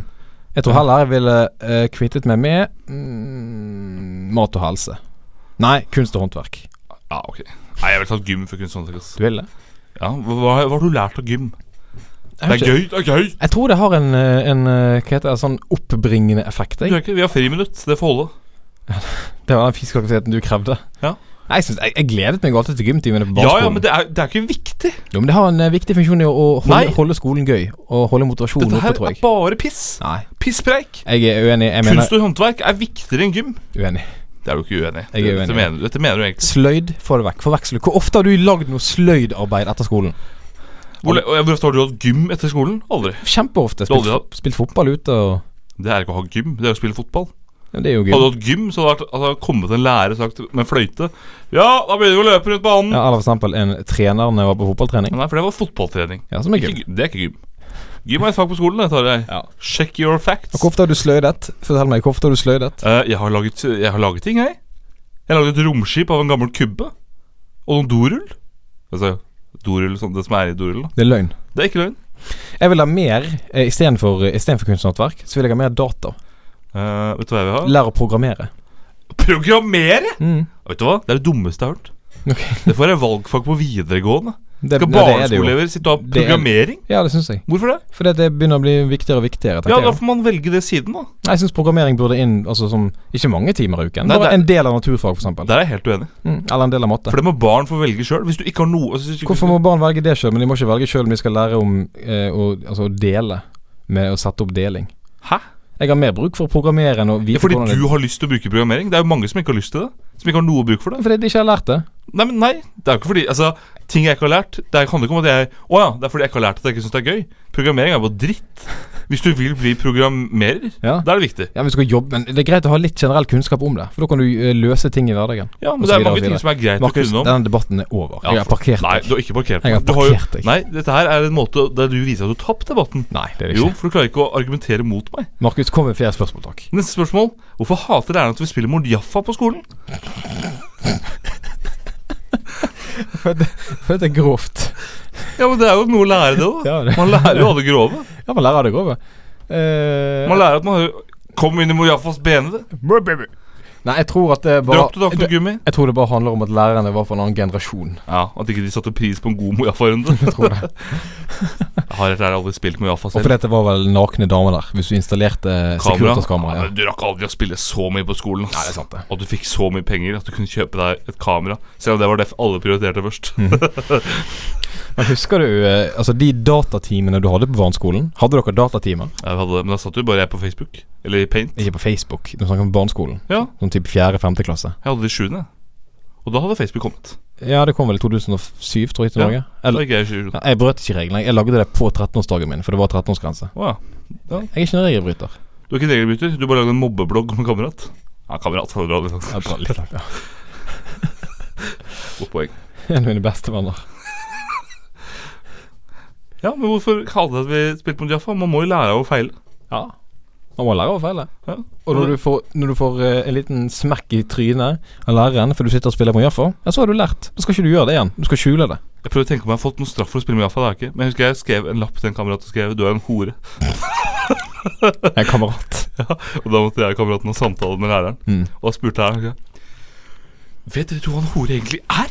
Speaker 3: Jeg tror heller jeg ville eh, kvittet meg med mm, mat og helse. Nei, kunst og håndverk.
Speaker 4: Ja, ok. Nei, jeg ville tatt gym for kunst og håndverk. ass.
Speaker 3: Du ville?
Speaker 4: Ja, hva, hva hva har du lært av gym?
Speaker 3: Jeg,
Speaker 4: Det
Speaker 3: vet
Speaker 4: er
Speaker 3: ikke.
Speaker 4: gøy, det er gøy!
Speaker 3: jeg tror det har en, eh, en eh, hva heter det, sånn oppbringende effekt.
Speaker 4: Du
Speaker 3: Jeg.
Speaker 4: er ikke, vi har friminutt, det får holde.
Speaker 3: Det var den fysiske aktiviteten du krevde.
Speaker 4: Ja.
Speaker 3: Nei, Jeg, synes, jeg, jeg gledet meg alltid til gymtimene på
Speaker 4: Ja,
Speaker 3: barneskolen.
Speaker 4: ja, men det er, det er ikke viktig.
Speaker 3: Jo, men det har en eh, viktig funksjon i å å
Speaker 4: Nei.
Speaker 3: holde, holde skolen gøy. Og holde motivasjonen
Speaker 4: Dette
Speaker 3: oppe,
Speaker 4: her
Speaker 3: tror
Speaker 4: er
Speaker 3: jeg.
Speaker 4: bare piss.
Speaker 3: Nei,
Speaker 4: Pisspreik.
Speaker 3: jeg er uenig. Jeg mener
Speaker 4: Kunst og håndverk er viktigere enn gym.
Speaker 3: uenig.
Speaker 4: Det er du ikke uenig i.
Speaker 3: Jeg er uenig,
Speaker 4: Dette,
Speaker 3: ja.
Speaker 4: mener- dette mener du egentlig.
Speaker 3: Sløyd, få det vekk. Forveksle. Hvor ofte har du lagd noe sløydarbeid etter skolen?
Speaker 4: Hvor, le- hvor ofte har du hatt gym etter skolen? Aldri.
Speaker 3: Kjempeofte.
Speaker 4: Du har aldri
Speaker 3: Spilt,
Speaker 4: hatt-
Speaker 3: spilt fotball ute og
Speaker 4: Det er ikke å ha gym, det er å spille fotball.
Speaker 3: ja, Det er jo gøy.
Speaker 4: Hadde du hatt gym, så hadde det vært- altså, kommet en lærer og sagt med fløyte Ja, da begynner vi å løpe rundt banen.
Speaker 3: Ja, eller for eksempel en trener når jeg var på fotballtrening.
Speaker 4: Nei, for det var fotballtrening.
Speaker 3: Ja, som er
Speaker 4: Ikke
Speaker 3: gøy.
Speaker 4: gy- det er ikke gym. Gym er et fag på skolen, det tar jeg.
Speaker 3: Ja.
Speaker 4: Check your facts.
Speaker 3: Og hvor ofte har du sløydet? Fortell meg, hvor ofte har du sløydet?
Speaker 4: Eh, jeg, har laget, jeg har laget ting, jeg. Jeg har laget et romskip av en gammel kubbe. Og noen dorull. Altså dorull, sånn, det som er i dorullen. da.
Speaker 3: Det er løgn.
Speaker 4: Det er ikke løgn.
Speaker 3: Jeg vil ha mer, eh, istedenfor istedenfor kunstnerhåndverk, så vil jeg ha mer data.
Speaker 4: Eh, vet du hva jeg vil ha?
Speaker 3: Lære å programmere.
Speaker 4: Programmere!
Speaker 3: Mm.
Speaker 4: Vet du hva? Det er det dummeste jeg har hørt.
Speaker 3: Ok.
Speaker 4: Det får være valgfag på videregående.
Speaker 3: Det,
Speaker 4: Skal
Speaker 3: nei, det er det jo.
Speaker 4: barneskoleelever sitte og ha
Speaker 3: Det er-
Speaker 4: programmering?
Speaker 3: Ja, det syns jeg.
Speaker 4: Hvorfor det?
Speaker 3: Fordi at det begynner å bli viktigere og viktigere.
Speaker 4: Ja,
Speaker 3: tenker
Speaker 4: da
Speaker 3: jeg.
Speaker 4: får man velge det siden, da.
Speaker 3: Nei, Jeg syns programmering burde inn altså som ikke mange timer i uken.
Speaker 4: Nei,
Speaker 3: Bare
Speaker 4: det er-
Speaker 3: en del av naturfag, f.eks.
Speaker 4: Der er jeg helt uenig.
Speaker 3: Mm, eller en del av matte.
Speaker 4: For det må barn få velge sjøl. Hvis du ikke har noe altså, hvis du ikke-
Speaker 3: Hvorfor må barn velge det sjøl, men de må ikke velge sjøl om de skal lære om eh, å, altså, å dele? Med å sette opp deling.
Speaker 4: Hæ?
Speaker 3: Jeg har mer bruk for å programmere enn å
Speaker 4: Ja,
Speaker 3: vite
Speaker 4: fordi
Speaker 3: hvordan
Speaker 4: du har lyst til å bruke programmering. Det er jo mange som ikke har lyst til det. Som ikke har noe bruk for det.
Speaker 3: Fordi de ikke har lært det.
Speaker 4: Nei, men nei, det er jo ikke fordi Altså, ting jeg ikke har lært Det handler ikke om at jeg Å ja, det er fordi jeg ikke har lært at jeg ikke syns det er gøy. Programmering er bare dritt. Hvis du vil bli programmerer,
Speaker 3: Ja.
Speaker 4: da er det viktig.
Speaker 3: Ja, men, vi skal jobbe, men Det er greit å ha litt generell kunnskap om det, for da kan du eh, løse ting i hverdagen.
Speaker 4: Ja, men
Speaker 3: Og så
Speaker 4: det er
Speaker 3: videre,
Speaker 4: mange
Speaker 3: og så
Speaker 4: ting som er greit
Speaker 3: Markus,
Speaker 4: å kunne om.
Speaker 3: denne debatten er over.
Speaker 4: Ja,
Speaker 3: jeg har
Speaker 4: for-
Speaker 3: parkert
Speaker 4: Nei,
Speaker 3: deg.
Speaker 4: du har ikke parkert
Speaker 3: Jeg har
Speaker 4: Du jo-
Speaker 3: parkert deg.
Speaker 4: Nei, dette her er en måte der du viser at du har tapt debatten.
Speaker 3: Nei, det er det
Speaker 4: Jo,
Speaker 3: ikke.
Speaker 4: for du klarer ikke å argumentere mot meg.
Speaker 3: Markus, kom med flere spørsmål, takk.
Speaker 4: Neste spørsmål. Hvorfor hater lærerne at vi spiller Mord Jaffa på skolen?
Speaker 3: For dette er grovt.
Speaker 4: Ja, men Det er jo noe å lære, det òg.
Speaker 3: Ja, det,
Speaker 4: Man lærer jo av det grove.
Speaker 3: ja man lærer av det grove. Eh,
Speaker 4: Man lærer at man hører Kom inn i Mord Jaffas benede.
Speaker 3: Nei, jeg tror at det bare
Speaker 4: Drap til Dr. Gummi.
Speaker 3: Jeg tror det bare handler om at lærerne var fra en annen generasjon.
Speaker 4: Ja, At ikke de satte pris på en god Mord Jaffa-runde.
Speaker 3: Jeg tror det
Speaker 4: Jeg har rett og slett aldri spilt Mord Jaffa
Speaker 3: Og
Speaker 4: selv.
Speaker 3: fordi at det var vel nakne damer der, hvis du installerte sekunderskamera.
Speaker 4: Ja,
Speaker 3: Ja.
Speaker 4: men Du rakk aldri å spille så mye på skolen. ass.
Speaker 3: Nei, det er sant det.
Speaker 4: Og at du fikk så mye penger at du kunne kjøpe deg et kamera. Selv om det var det alle prioriterte først.
Speaker 3: Men husker du eh, altså de datatimene du hadde på barneskolen? Hadde dere datatimer?
Speaker 4: Jeg hadde det, Men da satt jo bare jeg på Facebook. Eller i Paint.
Speaker 3: Ikke på Facebook, du snakker om barneskolen.
Speaker 4: Ja,
Speaker 3: Sånn type fjerde-femte klasse.
Speaker 4: jeg hadde det i sjuende. Og da hadde Facebook kommet.
Speaker 3: Ja, det kom vel i 2007, tror jeg, til
Speaker 4: Ja,
Speaker 3: Norge.
Speaker 4: Da
Speaker 3: Eller,
Speaker 4: gikk jeg i sjuende.
Speaker 3: ja, jeg brøt ikke reglene. Jeg lagde det på 13-årsdagen min, for det var 13-årsgrense.
Speaker 4: Å ja.
Speaker 3: Jeg er ikke en regelbryter.
Speaker 4: Du er ikke en regelbryter. Du bare lagde en mobbeblogg om en kamerat. Ja, kamerat. hadde du aldri sagt.
Speaker 3: Jeg drar litt langt, ja.
Speaker 4: Godt poeng.
Speaker 3: En av mine beste venner.
Speaker 4: Ja, men hvorfor kalte det at vi spilte mot Jaffa? Man må jo lære av å feile.
Speaker 3: Ja. Man må lære av å feile.
Speaker 4: Ja.
Speaker 3: Og når du får, når du får eh, en liten smekk i trynet av læreren fordi du sitter og spiller på Jaffa, ja, så har du lært. Da skal ikke du gjøre det igjen. Du skal skjule det.
Speaker 4: Jeg prøver å tenke om jeg har fått noen straff for å spille med Jaffa. Det har jeg ikke. Men jeg husker jeg skrev en lapp til en kamerat og skrev 'du er en hore'.
Speaker 3: En kamerat.
Speaker 4: Og da måtte jeg og kameraten ha samtale med læreren.
Speaker 3: Mm.
Speaker 4: Og da spurte jeg ok, Vet dere to hva en hore egentlig er?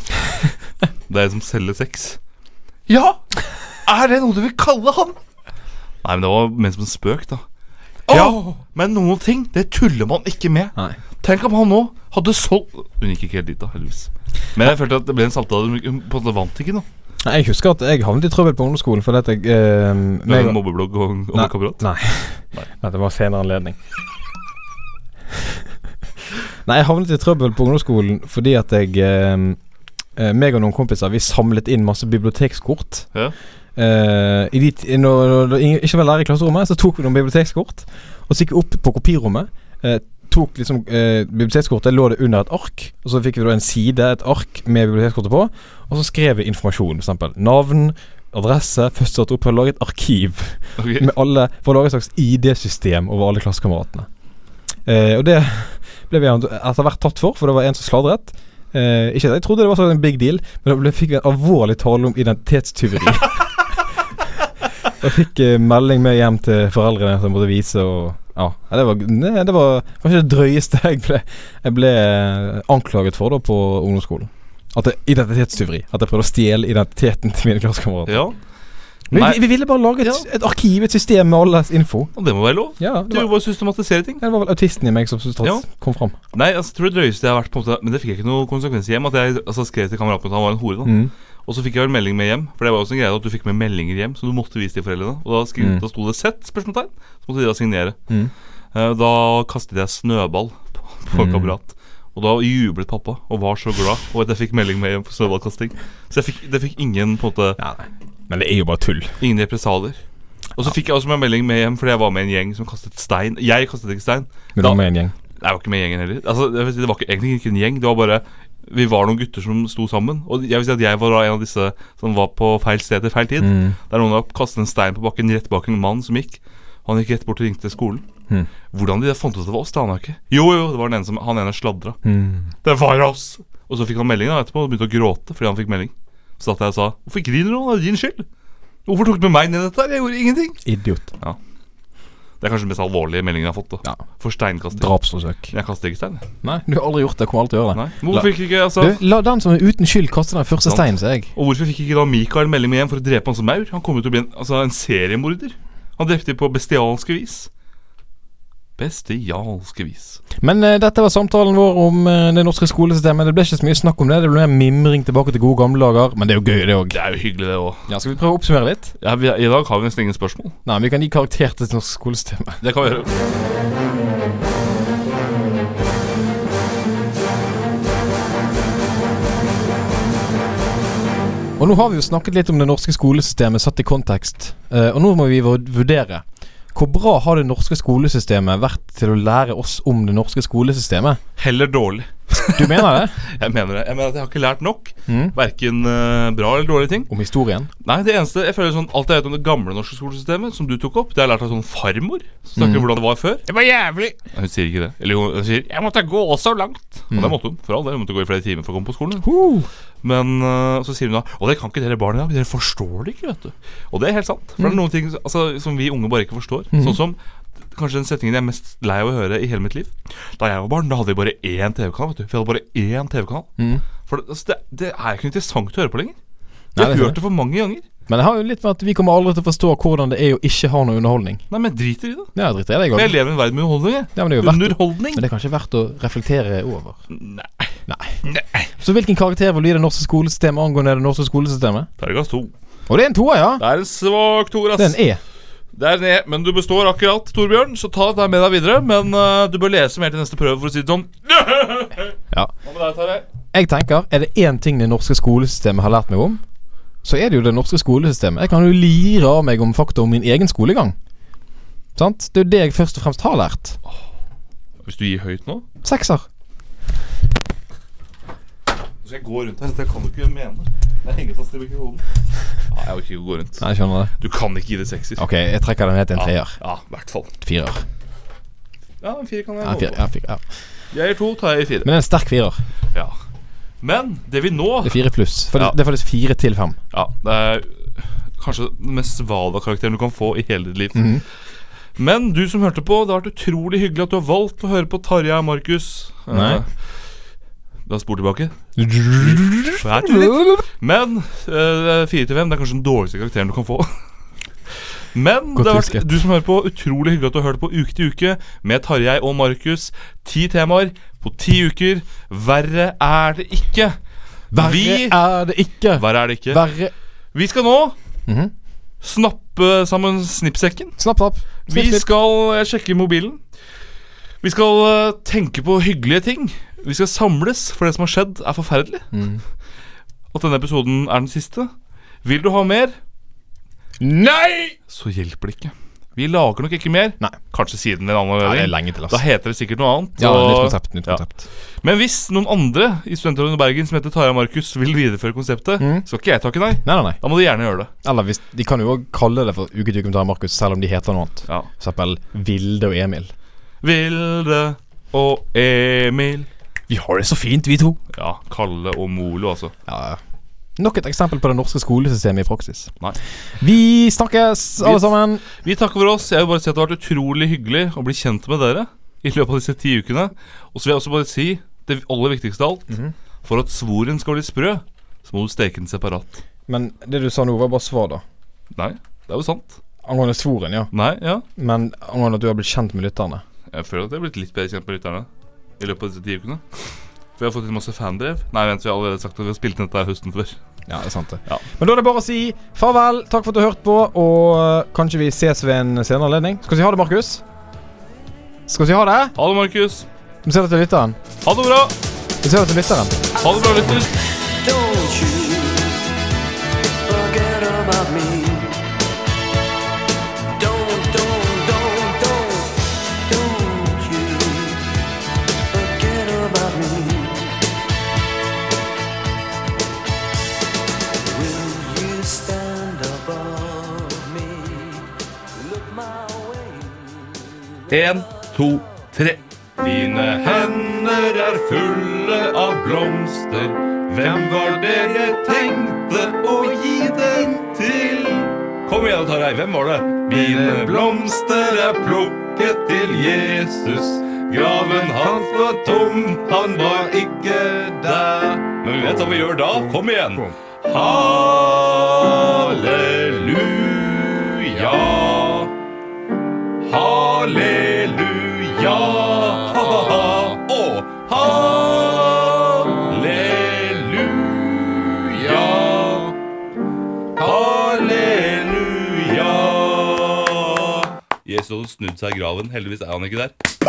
Speaker 4: det er en som selger sex. Ja! Er det noe du vil kalle han? Nei, men det var mer som en spøk, da. Ja, men noen ting, det tuller man ikke med.
Speaker 3: Nei.
Speaker 4: Tenk om han nå hadde solgt Hun gikk ikke helt dit, da, heldigvis. Men jeg følte at det ble en samtale Hun- Hun på en måte vant ikke, da.
Speaker 3: Nei, Jeg husker at jeg havnet i trøbbel på ungdomsskolen fordi at jeg eh,
Speaker 4: Du har
Speaker 3: meg-
Speaker 4: en mobbeblogg og og
Speaker 3: Nei.
Speaker 4: en kamerat.
Speaker 3: Nei.
Speaker 4: Nei.
Speaker 3: Nei, det var senere anledning. Nei, jeg havnet i trøbbel på ungdomsskolen fordi at jeg eh, eh, meg og noen kompiser Vi samlet inn masse bibliotekskort.
Speaker 4: Ja.
Speaker 3: Eh, i de, ti- når, når det ingen- ikke var lærer i klasserommet, så tok vi noen bibliotekskort. Og så gikk vi opp på kopirommet. eh, tok liksom eh, Bibliotekskortet lå det under et ark. Og så fikk vi da en side, et ark, med bibliotekskortet på. Og så skrev vi informasjon. F.eks. navn, adresse, første og opphold. Laget arkiv
Speaker 4: Ok.
Speaker 3: med alle For å lage et slags ID-system over alle klassekameratene. Eh, og det ble vi etter hvert tatt for, for det var en som sladret. Eh, ikke at jeg trodde det var sånn en big deal, men da ble, fikk vi en alvorlig tale om identitetstyveri. Jeg fikk eh, melding med hjem til foreldrene som måtte vise og Ja, Nei, det var, nei, det var kanskje det drøyeste jeg ble, jeg ble eh, anklaget for da på ungdomsskolen. At det, Identitetstyveri. At jeg prøvde å stjele identiteten til mine klassekamerater.
Speaker 4: Ja.
Speaker 3: Vi,
Speaker 4: Nei.
Speaker 3: vi, vi ville bare lage et, et arkiv, et system med alles info.
Speaker 4: Og det må være lov.
Speaker 3: Ja, det
Speaker 4: Du
Speaker 3: var,
Speaker 4: må systematisere ting.
Speaker 3: ja, det var vel autisten i meg som stort,
Speaker 4: Ja.
Speaker 3: kom fram.
Speaker 4: Nei, altså, jeg tror det drøyeste jeg har vært på en måte Men det fikk jeg ikke noen konsekvenser hjem. At jeg altså, skrev til kameraten min at han var en hore. da
Speaker 3: Mm.
Speaker 4: Og så fikk jeg vel melding med hjem. For det var jo også en greie at du fikk med meldinger hjem som du måtte vise til foreldrene. Og da, skri,
Speaker 3: Mm.
Speaker 4: da sto det 'sett?' spørsmålstegn. Så måtte de da signere.
Speaker 3: Mm.
Speaker 4: Eh, da kastet jeg snøball på, på
Speaker 3: Mm.
Speaker 4: kamerat. Og da jublet pappa og var så glad over at jeg fikk melding med hjem på snøballkasting. Så jeg fikk, det fikk ingen på en måte
Speaker 3: Ja, nei. Men det er jo bare tull.
Speaker 4: Ingen represalier. Og så fikk jeg også med melding med hjem fordi jeg var med en gjeng som kastet stein. Jeg kastet ikke stein.
Speaker 3: Men
Speaker 4: Da-
Speaker 3: da, med en gjeng.
Speaker 4: Jeg var ikke med i gjengen heller. Altså, jeg vil si, det var ikke, egentlig ikke en gjeng. Det var bare Vi var noen gutter som sto sammen. Og jeg vil si at jeg var da en av disse som var på feil sted til feil tid.
Speaker 3: Mm.
Speaker 4: Der noen har kastet en stein på bakken rett bak en mann som gikk. Og han gikk rett bort og ringte skolen.
Speaker 3: Mm.
Speaker 4: Hvordan de fant ut at det var oss, det aner jeg ikke. Jo, jo, det var den ene som Han ene sladra.
Speaker 3: Mm.
Speaker 4: Det var oss! Og så fikk han melding da etterpå og begynte å gråte fordi han fikk melding. Så satt jeg og sa Hvorfor griner du? Det er jo din skyld. Hvorfor tok du med meg ned i dette? her? Jeg gjorde ingenting.
Speaker 3: Idiot.
Speaker 4: Det er kanskje den mest alvorlige meldingen jeg har fått. da
Speaker 3: Ja.
Speaker 4: For steinkasting.
Speaker 3: Drapsforsøk.
Speaker 4: Men Jeg kaster ikke stein. jeg.
Speaker 3: Nei, du har aldri gjort det. Kommer aldri til å gjøre det.
Speaker 4: Nei. Hvorfor fikk ikke altså,
Speaker 3: Du, la den som er uten skyld kaste den første
Speaker 4: Sant.
Speaker 3: steinen, sier jeg.
Speaker 4: Og hvorfor fikk ikke da Mikael melding med hjem for å drepe han som maur? Han kom jo til å bli en, altså, en seriemorder. Han drepte på bestialske vis. Bestialske vis.
Speaker 3: Men eh, dette var samtalen vår om eh, det norske skolesystemet. Det ble ikke så mye snakk om det. Det ble mer mimring tilbake til gode gamle dager. Men det er jo gøy, det òg.
Speaker 4: Det er jo hyggelig, det òg.
Speaker 3: Ja, skal vi prøve å oppsummere litt?
Speaker 4: Ja, vi- I dag har vi nesten ingen spørsmål.
Speaker 3: Nei, vi kan gi karakter til det norske skolesystemet.
Speaker 4: Det kan vi gjøre.
Speaker 3: Og nå har vi jo snakket litt om det norske skolesystemet satt i kontekst. Eh, og nå må vi vur- vurdere. Hvor bra har det norske skolesystemet vært til å lære oss om det norske skolesystemet?
Speaker 4: Heller dårlig.
Speaker 3: Du mener det?
Speaker 4: Jeg mener det. Jeg mener at jeg har ikke lært nok.
Speaker 3: Mm.
Speaker 4: Verken eh, bra eller dårlige ting.
Speaker 3: Om historien?
Speaker 4: Nei, det eneste jeg føler sånn Alt jeg vet om det gamle norske skolesystemet, som du tok opp, det har jeg lært av sånn farmor. Som snakker om hvordan det var før. Mm. Det var jævlig Hun sier ikke det. Eller jo, hun sier 'jeg måtte gå så langt'. Og det måtte hun. For all del. Hun måtte gå i flere timer for å komme på skolen. Men øh, så sier hun da Og det kan ikke dere barn i dag. Dere forstår det ikke, vet du. Og det er helt sant. For det er noen ting altså, som vi unge bare ikke forstår. Sånn som kanskje den setningen jeg er mest lei av å høre i hele mitt liv. Da jeg var barn, da hadde vi bare én TV-kanal. vet du Vi hadde bare én TV-kanal.
Speaker 3: Mm.
Speaker 4: For det, altså, det, det er ikke interessant å høre på lenger. Vi
Speaker 3: Nei,
Speaker 4: har
Speaker 3: det er
Speaker 4: hørt det for mange ganger.
Speaker 3: Men det har jo litt med at vi kommer aldri til å forstå hvordan det er å ikke ha noe underholdning.
Speaker 4: Nei, men jeg driter i det.
Speaker 3: Ja, dritt er det, jeg
Speaker 4: For jeg
Speaker 3: òg.
Speaker 4: lever i en verden med underholdning. jeg.
Speaker 3: Ja, men det er jo verdt
Speaker 4: Underholdning?
Speaker 3: Men det er kanskje verdt å reflektere over.
Speaker 4: Nei.
Speaker 3: Så hvilken karakter vil du gi det norske skolesystemet angående det norske skolesystemet?
Speaker 4: Terningkast to.
Speaker 3: Og det er en toer, ja!
Speaker 4: Det er en svak toer, ass.
Speaker 3: Det er en E.
Speaker 4: Det er ned, men du består akkurat, Torbjørn, så ta dette med deg videre. Men eh, du bør lese mer til neste prøve, for å si det sånn.
Speaker 3: Ja.
Speaker 4: Hva med deg, Tarjei?
Speaker 3: Jeg tenker, er det én ting det norske skolesystemet har lært meg om, så er det jo det norske skolesystemet. Jeg kan jo lire av meg om fakta om min egen skolegang. Sant? Det er jo det jeg først og fremst har lært.
Speaker 4: Hvis du gir høyt nå,
Speaker 3: Sekser.
Speaker 4: så skal jeg gå rundt her. Dette kan du ikke mene. Det er hengefast i mikrofonen. Ja, jeg orker ikke å gå rundt.
Speaker 3: Nei, jeg skjønner det.
Speaker 4: Du kan ikke gi det sekser.
Speaker 3: Ok, jeg trekker den ned til en
Speaker 4: Ja,
Speaker 3: treer.
Speaker 4: ja, i hvert fall.
Speaker 3: Firer.
Speaker 4: Ja, en fire kan jeg
Speaker 3: Ja, en
Speaker 4: holde
Speaker 3: firer,
Speaker 4: på.
Speaker 3: ja, en firer, ja.
Speaker 4: Jeg gir to, Tarjei gir fire.
Speaker 3: Men det er en sterk firer.
Speaker 4: Ja. Men det vi nå
Speaker 3: Det er fire pluss. For det,
Speaker 4: Ja.
Speaker 3: det er faktisk fire til fem.
Speaker 4: Ja, det er kanskje den mest svala karakteren du kan få i hele ditt liv.
Speaker 3: Mhm.
Speaker 4: Men du som hørte på, det har vært utrolig hyggelig at du har valgt å høre på Tarjei og Markus.
Speaker 3: Nei.
Speaker 4: Eh, Da spor tilbake. Svært litt. Men eh, fire til fem det er kanskje den dårligste karakteren du kan få. Men
Speaker 3: Godt
Speaker 4: det har
Speaker 3: husket.
Speaker 4: vært, du som hører på, utrolig hyggelig at du har hørt på Uke til uke med Tarjei og Markus. Ti temaer på ti uker. Verre er det ikke.
Speaker 3: Verre
Speaker 4: Vi-
Speaker 3: er det ikke.
Speaker 4: Verre er det ikke.
Speaker 3: Verre
Speaker 4: Vi skal nå
Speaker 3: Mhm.
Speaker 4: snappe sammen snippsekken.
Speaker 3: Snapp, snapp.
Speaker 4: Vi
Speaker 3: Snipp, snipp.
Speaker 4: skal eh, sjekke mobilen. Vi skal eh, tenke på hyggelige ting. Vi skal samles, for det som har skjedd, er forferdelig.
Speaker 3: Mhm.
Speaker 4: At denne episoden er den siste. Vil du ha mer,
Speaker 3: Nei!
Speaker 4: så hjelper det ikke. Vi lager nok ikke mer.
Speaker 3: Nei.
Speaker 4: Kanskje siden en annen
Speaker 3: Ja, det er
Speaker 4: gang.
Speaker 3: lenge til,
Speaker 4: Da
Speaker 3: altså.
Speaker 4: heter det sikkert noe annet.
Speaker 3: Ja,
Speaker 4: og-
Speaker 3: nytt konsept. nytt
Speaker 4: Ja.
Speaker 3: konsept
Speaker 4: Men hvis noen andre i Studentrådet i Bergen som heter Tarjei og Markus, vil videreføre konseptet,
Speaker 3: Mhm.
Speaker 4: skal ikke jeg takke nei.
Speaker 3: Nei, nei, nei.
Speaker 4: Da må du gjerne gjøre det.
Speaker 3: Eller hvis, de kan jo òg kalle det for Uke til uke med Tara Markus, selv om de heter noe annet.
Speaker 4: Ja.
Speaker 3: For eksempel Vilde og Emil.
Speaker 4: Vilde og Emil.
Speaker 3: Vi har det så fint, vi to.
Speaker 4: Ja, Kalle og Molo, altså.
Speaker 3: Ja, ja. Nok et eksempel på det norske skolesystemet i praksis.
Speaker 4: Nei.
Speaker 3: Vi snakkes, alle
Speaker 4: Vi-
Speaker 3: sammen.
Speaker 4: Vi takker for oss. Jeg vil bare si at Det har vært utrolig hyggelig å bli kjent med dere i løpet av disse ti ukene. Og så vil jeg også bare si det aller viktigste av alt. For at svoren skal bli sprø, så må du steke den separat.
Speaker 3: Men det du sa nå, var bare svar, da.
Speaker 4: Nei, det er jo sant.
Speaker 3: Angående svoren, ja.
Speaker 4: Nei, ja.
Speaker 3: Men angående at du har blitt kjent med lytterne.
Speaker 4: Jeg føler at jeg har blitt litt bedre kjent med lytterne i løpet av disse ti ukene. For jeg har fått inn masse fandrev. Nei, vent, vi har allerede sagt at vi har spilt inn dette her høsten før.
Speaker 3: Ja, det er sant det.
Speaker 4: Ja.
Speaker 3: Men da er det bare å si farvel. Takk for at du har hørt på, og øh, kanskje vi ses ved en senere anledning. Skal vi si ha det, Markus? Skal vi si ha det?
Speaker 4: Ha det, Markus.
Speaker 3: Vi ser det til lytteren.
Speaker 4: Ha det bra.
Speaker 3: Vi ser det til lytteren.
Speaker 4: Ha det bra, lytter.
Speaker 6: Don't you forget about me. Don't, don't, don't, don't, don't you forget about me. Will you stand above me? Look my way.
Speaker 4: En, to, tre. Dine hender er fulle av blomster. Hvem var det jeg tenkte å gi den til? Kom igjen, Tarjei. Hvem var det? Mine blomster er plukket til Jesus. Graven hans var tom, han var ikke der. Men vi vet hva vi gjør da. Kom igjen. Halleluja. Halleluja. Ha, ha, ha. Og halleluja. Halleluja. Jesus hadde snudd seg i graven. Heldigvis er han ikke der.